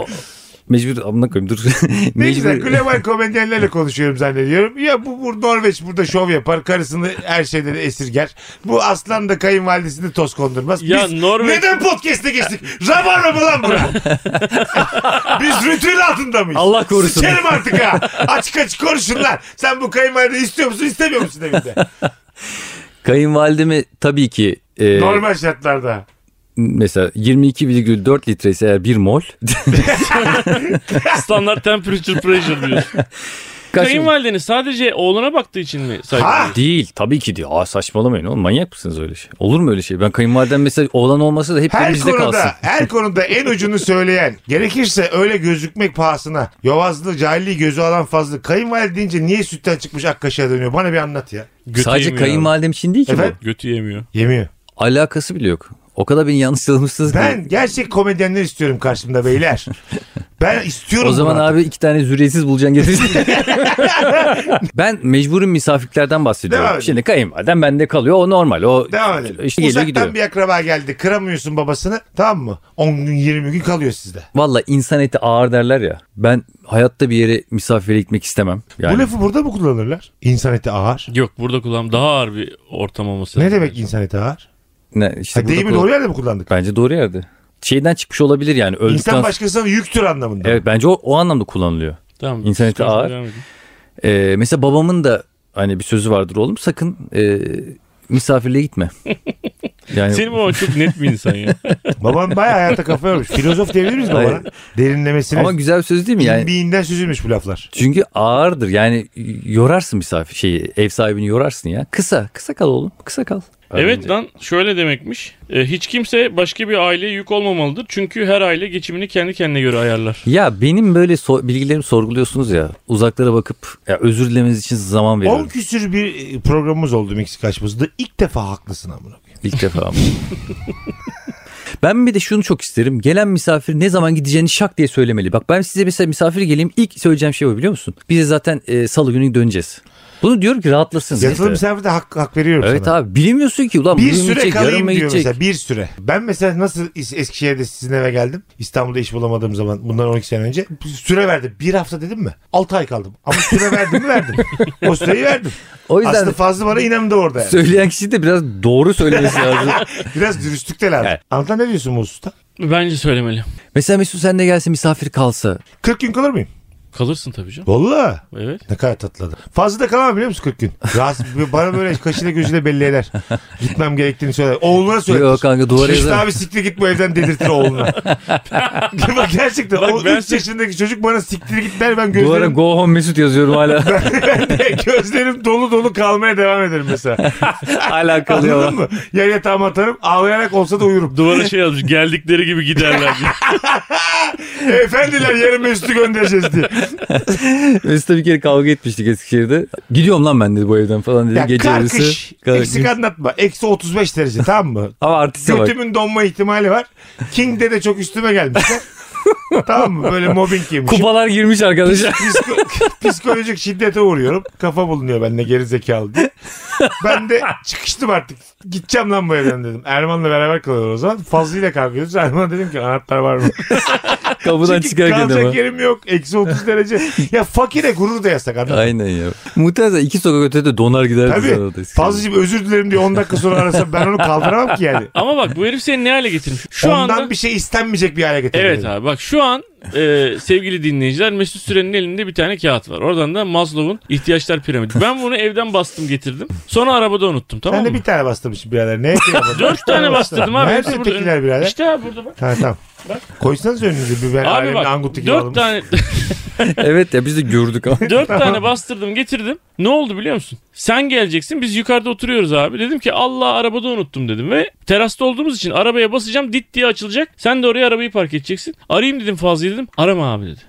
Speaker 2: Mecbur amına koyayım dur. <laughs>
Speaker 1: Ne güzel
Speaker 2: Mecbur.
Speaker 1: global komedyenlerle konuşuyorum zannediyorum. Ya bu, bu Norveç burada şov yapar. Karısını her şeyden esirger. Bu aslan da kayınvalidesini toz kondurmaz.
Speaker 3: Ya
Speaker 1: Biz
Speaker 3: Norveç-
Speaker 1: neden podcast'e geçtik? Rabarba mı lan bura? Biz rütün altında mıyız?
Speaker 2: Allah korusun.
Speaker 1: Sikerim artık ha. Açık açık konuşun lan. Sen bu kayınvalideyi istiyor musun istemiyor musun evinde?
Speaker 2: Kayınvalidemi tabii ki e,
Speaker 1: Normal şartlarda.
Speaker 2: mesela 22,4 litre ise eğer
Speaker 1: <laughs>
Speaker 2: 1 mol.
Speaker 3: Standart temperature pressure diyorsun.
Speaker 2: Kaç-
Speaker 3: Kayınvalideniz sadece oğluna baktığı için mi
Speaker 1: Ha!
Speaker 3: saygı
Speaker 2: Değil tabii ki değil. Aa saçmalamayın oğlum manyak mısınız öyle şey? Olur mu öyle şey? Ben kayınvalidem mesela oğlan olmasa da hep de
Speaker 1: Her
Speaker 2: bizde
Speaker 1: konuda,
Speaker 2: kalsın.
Speaker 1: her konuda en ucunu söyleyen, gerekirse öyle gözükmek pahasına, yovazlığı, cahilliği gözü alan fazla kayınvalide deyince niye sütten çıkmış ak kaşığa dönüyor? Bana bir anlat ya.
Speaker 3: Götü
Speaker 2: Sadece
Speaker 3: yemiyor
Speaker 2: kayınvalidem için değil ki
Speaker 1: Efendim?
Speaker 3: abi. Götü yemiyor.
Speaker 1: Yemiyor.
Speaker 2: bu. Alakası bile yok. O kadar beni yanlış tanımışsınız ki.
Speaker 1: Ben gerçek komedyenler istiyorum karşımda beyler. Ben istiyorum.
Speaker 2: O zaman
Speaker 1: bunu.
Speaker 2: abi iki tane zürriyetsiz
Speaker 1: <laughs>
Speaker 2: bulacaksın getireceksin. ben mecburum misafirliklerden
Speaker 1: Devam
Speaker 2: bahsediyorum.
Speaker 1: edin.
Speaker 2: Şimdi kayınvalidem bende kalıyor. O normal. O
Speaker 1: Devam edelim.
Speaker 2: İşte geliyor
Speaker 1: Uzaktan
Speaker 2: gidiyor.
Speaker 1: bir akraba geldi. Kıramıyorsun babasını. Tamam mı? 10 gün 20 gün kalıyor sizde.
Speaker 2: Valla insan eti ağır derler ya. Ben hayatta bir yere misafire gitmek istemem. Yani
Speaker 1: Bu lafı burada mı kullanırlar? İnsan eti ağır.
Speaker 3: Yok burada kulağım daha ağır bir ortam olması.
Speaker 1: Ne
Speaker 3: lazım.
Speaker 1: demek insan eti ağır?
Speaker 2: ne, işte
Speaker 1: Ha,
Speaker 2: burada
Speaker 1: deyimi
Speaker 2: kullan-
Speaker 1: doğru yerde mi kullandık?
Speaker 2: Bence doğru yerde. Şeyden çıkmış olabilir yani. Öldükten
Speaker 1: İnsan başkasına yüktür anlamında.
Speaker 2: Evet bence o, o anlamda kullanılıyor.
Speaker 3: Tamam.
Speaker 2: İnsan eti
Speaker 3: konuşmaya
Speaker 2: ağır.
Speaker 3: devam edin.
Speaker 2: Ee, mesela babamın da hani bir sözü vardır oğlum sakın e, misafirliğe gitme. Yani
Speaker 3: Senin baban çok net bir
Speaker 2: <laughs>
Speaker 3: insan ya.
Speaker 1: Babam bayağı hayata kafa yormuş. Filozof diyebilir miyiz babana?
Speaker 2: Hayır.
Speaker 1: Derinlemesine.
Speaker 2: ama güzel bir söz değil mi yani?
Speaker 1: Bildiğinden süzülmüş bu laflar.
Speaker 2: Çünkü ağırdır yani yorarsın misafir şeyi ev sahibini yorarsın ya. Kısa kısa kal oğlum kısa kal.
Speaker 3: evet lan şöyle demekmiş. E, hiç kimse başka bir aileye yük olmamalıdır. Çünkü her aile geçimini kendi kendine göre ayarlar.
Speaker 2: Ya benim böyle so- bilgilerimi sorguluyorsunuz ya uzaklara bakıp ya özür dilemeniz için zaman
Speaker 1: 10
Speaker 2: veriyorum
Speaker 1: küsür bir e, programımız oldu Meksika açmasında. İlk defa haklısın amına. koyayım.
Speaker 2: ilk defa. <laughs> Ben bir de şunu çok isterim. Gelen misafir ne zaman gideceğini şak diye söylemeli. Bak ben size mesela misafir geleyim ilk söyleyeceğim şey o biliyor musun? Biz de zaten e, salı günü döneceğiz. Bunu diyorum ki rahatlasın.
Speaker 1: Yatılı
Speaker 2: Evet.
Speaker 1: misafirde hak, hak veriyorum sana.
Speaker 2: Evet abi bilmiyorsun ki ulan
Speaker 1: Bir
Speaker 2: bugün
Speaker 1: süre
Speaker 2: gidecek, yarın
Speaker 1: kalayım
Speaker 2: mı
Speaker 1: diyor
Speaker 2: gidecek?
Speaker 1: mesela bir süre. Ben mesela nasıl Es- Eskişehir'de sizin eve geldim. İstanbul'da iş bulamadığım zaman bundan 12 sene önce süre verdim. Bir hafta dedim mi? 6 ay kaldım. Ama süre verdim mi verdim. O süreyi verdim.
Speaker 2: O yüzden
Speaker 1: Aslı fazla bana inandı orada yani.
Speaker 2: Söyleyen kişi de biraz doğru
Speaker 1: <laughs>
Speaker 2: söylemesi lazım.
Speaker 1: Biraz dürüstlük de lazım.
Speaker 2: Evet.
Speaker 1: Anlatan ne diyorsun bu hususta?
Speaker 3: Bence söylemeli.
Speaker 2: Mesela Mesut sen de gelse misafir kalsa.
Speaker 1: 40 gün kalır mıyım?
Speaker 3: Kalırsın tabii canım.
Speaker 1: Valla.
Speaker 3: Evet.
Speaker 1: Ne kadar tatladı. Fazla da kalamam biliyor musun 40 gün? Rahatsız, bana böyle kaşıyla gözüyle belli eder. Gitmem gerektiğini söyler. Oğluna söyler.
Speaker 2: Yok kanka duvara
Speaker 1: Mesut
Speaker 2: yazar.
Speaker 1: abi siktir git bu evden dedirtir oğluna. <laughs> Bak gerçekten
Speaker 3: Bak
Speaker 1: o
Speaker 3: ben
Speaker 1: 3 yaşındaki çocuk bana siktir git der ben
Speaker 2: Duvara
Speaker 1: gözlerim,
Speaker 2: go home Mesut
Speaker 1: <laughs>
Speaker 2: yazıyorum hala.
Speaker 1: gözlerim dolu dolu kalmaya devam ederim mesela.
Speaker 2: hala kalıyor.
Speaker 1: Anladın mı? Ya yatağıma atarım ağlayarak olsa da uyurum.
Speaker 3: Duvara şey yazmış <laughs> geldikleri gibi giderler
Speaker 2: <laughs>
Speaker 3: diye.
Speaker 1: Efendiler yarın Mesut'u göndereceğiz diye.
Speaker 2: Mesut'la bir kere kavga etmiştik Eskişehir'de. Gidiyorum lan ben dedi bu evden falan dedi.
Speaker 1: Ya
Speaker 2: Gece
Speaker 1: karkış.
Speaker 2: yarısı. Kalk-
Speaker 1: Eksik anlatma. Eksi 35 derece tamam mı?
Speaker 2: Ama artiste bak.
Speaker 1: Götümün donma ihtimali var. King'de de çok üstüme
Speaker 3: <laughs>
Speaker 1: gelmişler. tamam mı? Böyle mobbing yemişim.
Speaker 2: Kupalar girmiş arkadaşlar.
Speaker 1: Psiko- psikolojik şiddete uğruyorum. Kafa bulunuyor bende gerizekalı diye. Ben de çıkıştım artık. Gideceğim lan bu evden dedim. Erman'la beraber kalıyoruz o zaman. Fazlı ile kavga ediyoruz. Erman dedim ki anahtar var
Speaker 3: <laughs>
Speaker 1: mı?
Speaker 2: Kapıdan
Speaker 1: Çünkü
Speaker 2: çıkarken
Speaker 1: kalacak
Speaker 2: ama.
Speaker 1: yerim yok. Eksi 30 derece. Ya fakire gurur da yasak
Speaker 3: <laughs>
Speaker 1: adam.
Speaker 2: Aynen ya. Muhtemelen iki sokak ötede donar giderdi. sana da
Speaker 1: Tabii.
Speaker 2: Eskişehir'de.
Speaker 1: Fazlıcığım özür dilerim diye 10 dakika sonra arasam ben onu kaldıramam ki yani.
Speaker 3: Ama bak bu herif seni ne hale getirmiş? Şu
Speaker 1: Ondan
Speaker 3: anda
Speaker 1: bir şey istenmeyecek bir hale getirdim.
Speaker 3: Evet abi bak şu an e, sevgili dinleyiciler Mesut Süren'in elinde bir tane kağıt var. Oradan da Maslow'un ihtiyaçlar piramidi. Ben bunu evden bastım getirdim. Sonra arabada unuttum
Speaker 1: Ben
Speaker 3: tamam
Speaker 1: de
Speaker 3: mı?
Speaker 1: bir tane bastırmışım birader. şey Ne yapayım?
Speaker 3: Dört tane bastırdım abi.
Speaker 1: Nerede
Speaker 3: Hepsi burada
Speaker 1: ötekiler
Speaker 3: önümde.
Speaker 1: birader?
Speaker 3: İşte abi burada bak.
Speaker 1: Ha <laughs> tamam. Koysanız önünüze biber
Speaker 3: Abi
Speaker 1: alemin
Speaker 3: bak
Speaker 1: angutu gibi alalım.
Speaker 3: dört tane,
Speaker 2: <laughs> evet ya biz de gördük
Speaker 3: <laughs>
Speaker 2: ama.
Speaker 1: <laughs>
Speaker 3: dört tane bastırdım getirdim. Ne oldu biliyor musun? Sen geleceksin biz yukarıda oturuyoruz abi. Dedim ki Allah arabada unuttum dedim ve terasta olduğumuz için arabaya basacağım dit diye açılacak. Sen de oraya arabayı park edeceksin. Arayayım dedim Fazlı'yı dedim. Arama abi dedi.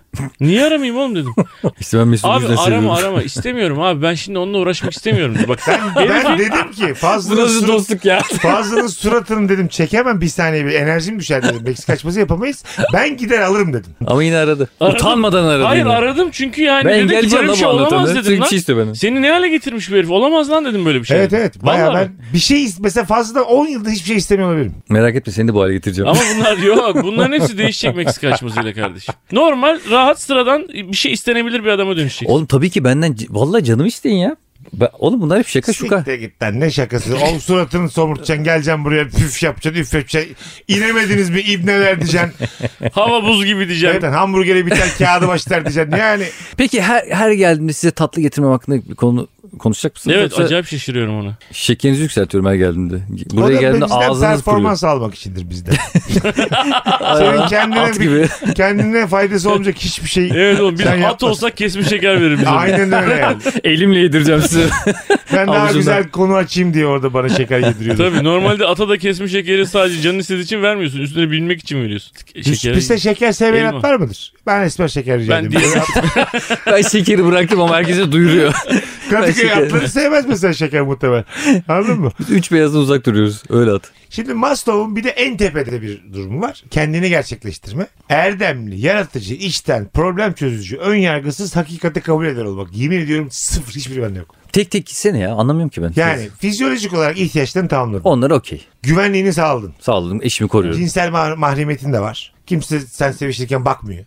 Speaker 3: Niye aramayayım oğlum dedim.
Speaker 2: İşte ben Mesut'u
Speaker 3: abi
Speaker 2: yüzden
Speaker 3: arama
Speaker 2: seviyorum. <laughs>
Speaker 3: arama istemiyorum abi ben şimdi onunla uğraşmak istemiyorum. dedi. Bak
Speaker 1: ben dedim ki
Speaker 2: Bu
Speaker 1: Fazlı'nın,
Speaker 2: nasıl
Speaker 1: surat,
Speaker 2: dostluk
Speaker 3: <laughs>
Speaker 2: ya?
Speaker 1: Fazlı'nın suratını dedim çekemem bir saniye bir enerjim düşer dedim. Meksika açması yapamayız. Ben gider alırım dedim.
Speaker 2: Ama yine aradı.
Speaker 3: Aradım.
Speaker 2: Utanmadan aradı
Speaker 3: hayır
Speaker 2: yine.
Speaker 3: aradım çünkü yani
Speaker 2: Ben
Speaker 3: dedi ki
Speaker 2: engelleyeceğim
Speaker 3: böyle bir
Speaker 2: lan
Speaker 3: şey
Speaker 2: bu
Speaker 3: olamaz
Speaker 2: anlatanı.
Speaker 3: dedim
Speaker 2: Çünkü
Speaker 3: lan.
Speaker 2: şey istiyor benden.
Speaker 3: Seni ne hale getirmiş bu herif olamaz lan dedim böyle bir şey.
Speaker 1: Evet evet. Bayağı
Speaker 3: Vallahi.
Speaker 1: ben bir şey is- mesela Fazlı'dan 10 yılda hiçbir şey istemiyor olabilirim.
Speaker 2: Merak etme seni de bu hale getireceğim.
Speaker 3: Ama bunlar yok. Bunların hepsi değişecek Meksika açmasıyla kardeşim. Normal, rahat, sıradan bir şey istenebilir bir adama
Speaker 2: <laughs>
Speaker 3: dönüşecek.
Speaker 2: Oğlum tabii ki benden vallahi canım isteyin ya. Ben, oğlum bunlar hep şaka şuka.
Speaker 1: Sikte git lan ne şakası. O suratını somurtacaksın geleceksin buraya püf yapacaksın üf yapacaksın. İnemediniz mi ibneler diyeceksin.
Speaker 3: <laughs> Hava buz gibi diyeceğim.
Speaker 1: Evet, hamburgeri biter kağıdı başlar diyeceksin. Yani
Speaker 2: Peki her her geldiğimde size tatlı getirmem hakkında bir konu konuşacak mısınız?
Speaker 3: Evet
Speaker 2: Yoksa
Speaker 3: acayip
Speaker 2: <laughs>
Speaker 3: şaşırıyorum ona.
Speaker 2: Şekerinizi yükseltiyorum her geldiğimde.
Speaker 1: o da
Speaker 2: Buraya geldiğimde
Speaker 1: bizden
Speaker 2: ağzınız kuruyor.
Speaker 1: performans almak içindir bizden. Senin kendine, bir,
Speaker 2: At gibi. <laughs>
Speaker 1: kendine faydası olmayacak hiçbir şey.
Speaker 3: Evet oğlum biz
Speaker 1: Sen
Speaker 3: at
Speaker 1: yapma.
Speaker 3: olsak kesme şeker verir bize.
Speaker 1: Aynen öyle yani.
Speaker 2: Elimle yedireceğim size.
Speaker 1: Ben daha
Speaker 2: Avucundan.
Speaker 1: güzel konu açayım diye orada bana şeker yediriyordu.
Speaker 3: Tabii normalde ata da kesme şekeri sadece canın istediği için vermiyorsun. Üstüne bilmek için veriyorsun. Şekeri.
Speaker 1: Piste şeker sevmeyen
Speaker 3: Elma.
Speaker 1: at var mıdır? Ben esmer şeker rica
Speaker 3: Ben
Speaker 1: edeyim.
Speaker 3: değilim.
Speaker 2: ben şekeri bıraktım ama herkese duyuruyor.
Speaker 1: Kadıköy
Speaker 2: Ben şeker-
Speaker 1: atları sevmez mesela şeker muhtemelen. Anladın mı?
Speaker 2: Biz <laughs> üç beyazdan uzak duruyoruz. Öyle at.
Speaker 1: Şimdi Maslow'un bir de en tepede bir durumu var. Kendini gerçekleştirme. Erdemli, yaratıcı, içten, problem çözücü, ön yargısız, hakikati kabul eder olmak. Yemin ediyorum sıfır hiçbir bende yok.
Speaker 2: Tek tek gitsene ya anlamıyorum ki ben.
Speaker 1: Yani fizyolojik olarak ihtiyaçlarını tamamladın.
Speaker 2: Onlar okey.
Speaker 1: Güvenliğini sağladın.
Speaker 2: Sağ olun eşimi koruyorum.
Speaker 1: Cinsel ma- mahremetin de var. Kimse sen sevişirken bakmıyor.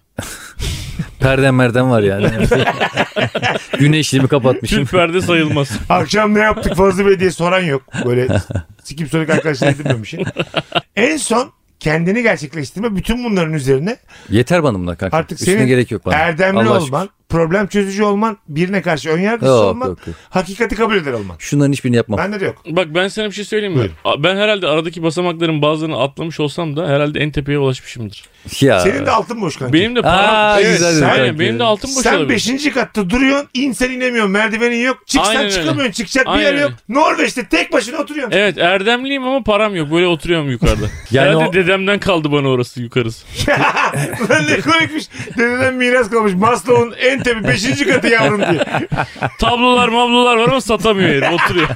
Speaker 2: Perden merden
Speaker 1: <laughs>
Speaker 2: var yani. Güneşliğimi kapatmışım.
Speaker 3: Tül
Speaker 2: <laughs>
Speaker 3: perde sayılmaz.
Speaker 1: Akşam ne yaptık Fazlı Bey diye soran yok. Böyle sikip sonik arkadaşlar edinmemişim. en son kendini gerçekleştirme bütün bunların üzerine
Speaker 2: Yeter bana bunlar kanka.
Speaker 1: Artık
Speaker 2: Üstüne
Speaker 1: senin
Speaker 2: gerek yok bana.
Speaker 1: erdemli
Speaker 2: Allah aşkına.
Speaker 1: olman, problem çözücü olman, birine karşı önyargısız
Speaker 2: Yok,
Speaker 1: olman,
Speaker 2: yok, yok.
Speaker 1: hakikati kabul eder olman.
Speaker 2: Şunların hiçbirini yapmam.
Speaker 1: Bende de yok.
Speaker 3: Bak ben sana bir şey söyleyeyim mi?
Speaker 1: Buyurun.
Speaker 3: A- Ben herhalde aradaki basamakların bazılarını atlamış olsam da herhalde en tepeye ulaşmışımdır.
Speaker 2: Ya.
Speaker 1: Senin de altın boş kanka.
Speaker 3: Benim de param...
Speaker 2: Aa,
Speaker 3: Evet,
Speaker 2: güzel dedin
Speaker 3: aynen,
Speaker 2: kanki.
Speaker 3: benim de altın boş
Speaker 1: sen 5. katta duruyorsun, insen inemiyorsun, merdivenin yok. Çıksan
Speaker 3: Aynen öyle.
Speaker 1: çıkamıyorsun, çıkacak bir
Speaker 3: Aynen
Speaker 1: yer
Speaker 3: öyle.
Speaker 1: yok. Norveç'te tek başına oturuyorsun.
Speaker 3: Evet erdemliyim ama param yok. Böyle oturuyorum yukarıda.
Speaker 2: <laughs> Yani
Speaker 3: Herhalde
Speaker 2: o-
Speaker 3: dedemden kaldı bana orası yukarısı.
Speaker 1: <laughs> Lan ne komikmiş. Dededen miras kalmış. Maslow'un en tepe 5. katı yavrum diye.
Speaker 2: <laughs>
Speaker 3: Tablolar mablolar var ama satamıyor herif oturuyor.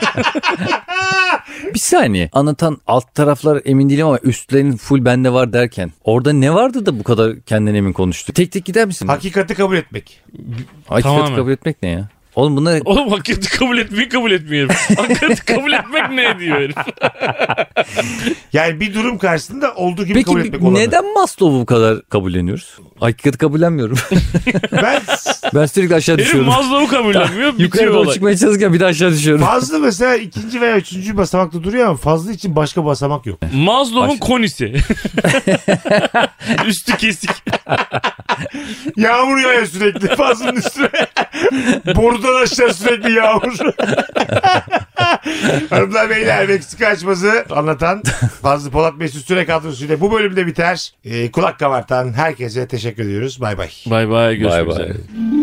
Speaker 2: Bir saniye. Anlatan alt taraflar emin değilim ama üstlerin full bende var derken. Orada ne vardı da bu kadar kendine emin konuştu? Tek tek gider misin?
Speaker 1: Hakikati kabul etmek.
Speaker 2: Hakikati
Speaker 3: Tamamen.
Speaker 2: kabul etmek ne ya? Oğlum bunlar
Speaker 3: Oğlum hakikati kabul etmeyi kabul etmiyor herif. Hakikati kabul etmek ne diyor
Speaker 2: <laughs>
Speaker 3: herif.
Speaker 1: Yani bir durum karşısında olduğu gibi
Speaker 2: Peki
Speaker 1: kabul etmek olanı.
Speaker 2: neden Maslow'u bu kadar kabulleniyoruz? Hakikati kabullenmiyorum.
Speaker 1: <laughs>
Speaker 2: <laughs>
Speaker 1: Ben
Speaker 2: ben sürekli aşağı
Speaker 3: Herif
Speaker 2: düşüyorum.
Speaker 3: Maslow'u kabullenmiyor. bitiyor
Speaker 2: Yukarı doğru
Speaker 3: olay.
Speaker 2: çıkmaya çalışırken bir de aşağı düşüyorum.
Speaker 1: Fazlı mesela ikinci veya üçüncü basamakta duruyor ama Fazlı için başka basamak
Speaker 2: <laughs>
Speaker 1: yok.
Speaker 3: Maslow'un
Speaker 2: Başla. <laughs>
Speaker 3: konisi. Üstü kesik.
Speaker 1: Yağmur yağıyor sürekli fazlının üstüne. <laughs> Borudan aşağı sürekli yağmur. <laughs> Hanımlar beyler Meksika açması anlatan Fazlı Polat Mesut Süre kadrosuyla bu bölümde biter. Ee, kulak kabartan herkese teşekkür ediyoruz. Bay bay.
Speaker 3: Bay bay
Speaker 2: Bay
Speaker 3: görüşmek
Speaker 2: bay.
Speaker 3: üzere.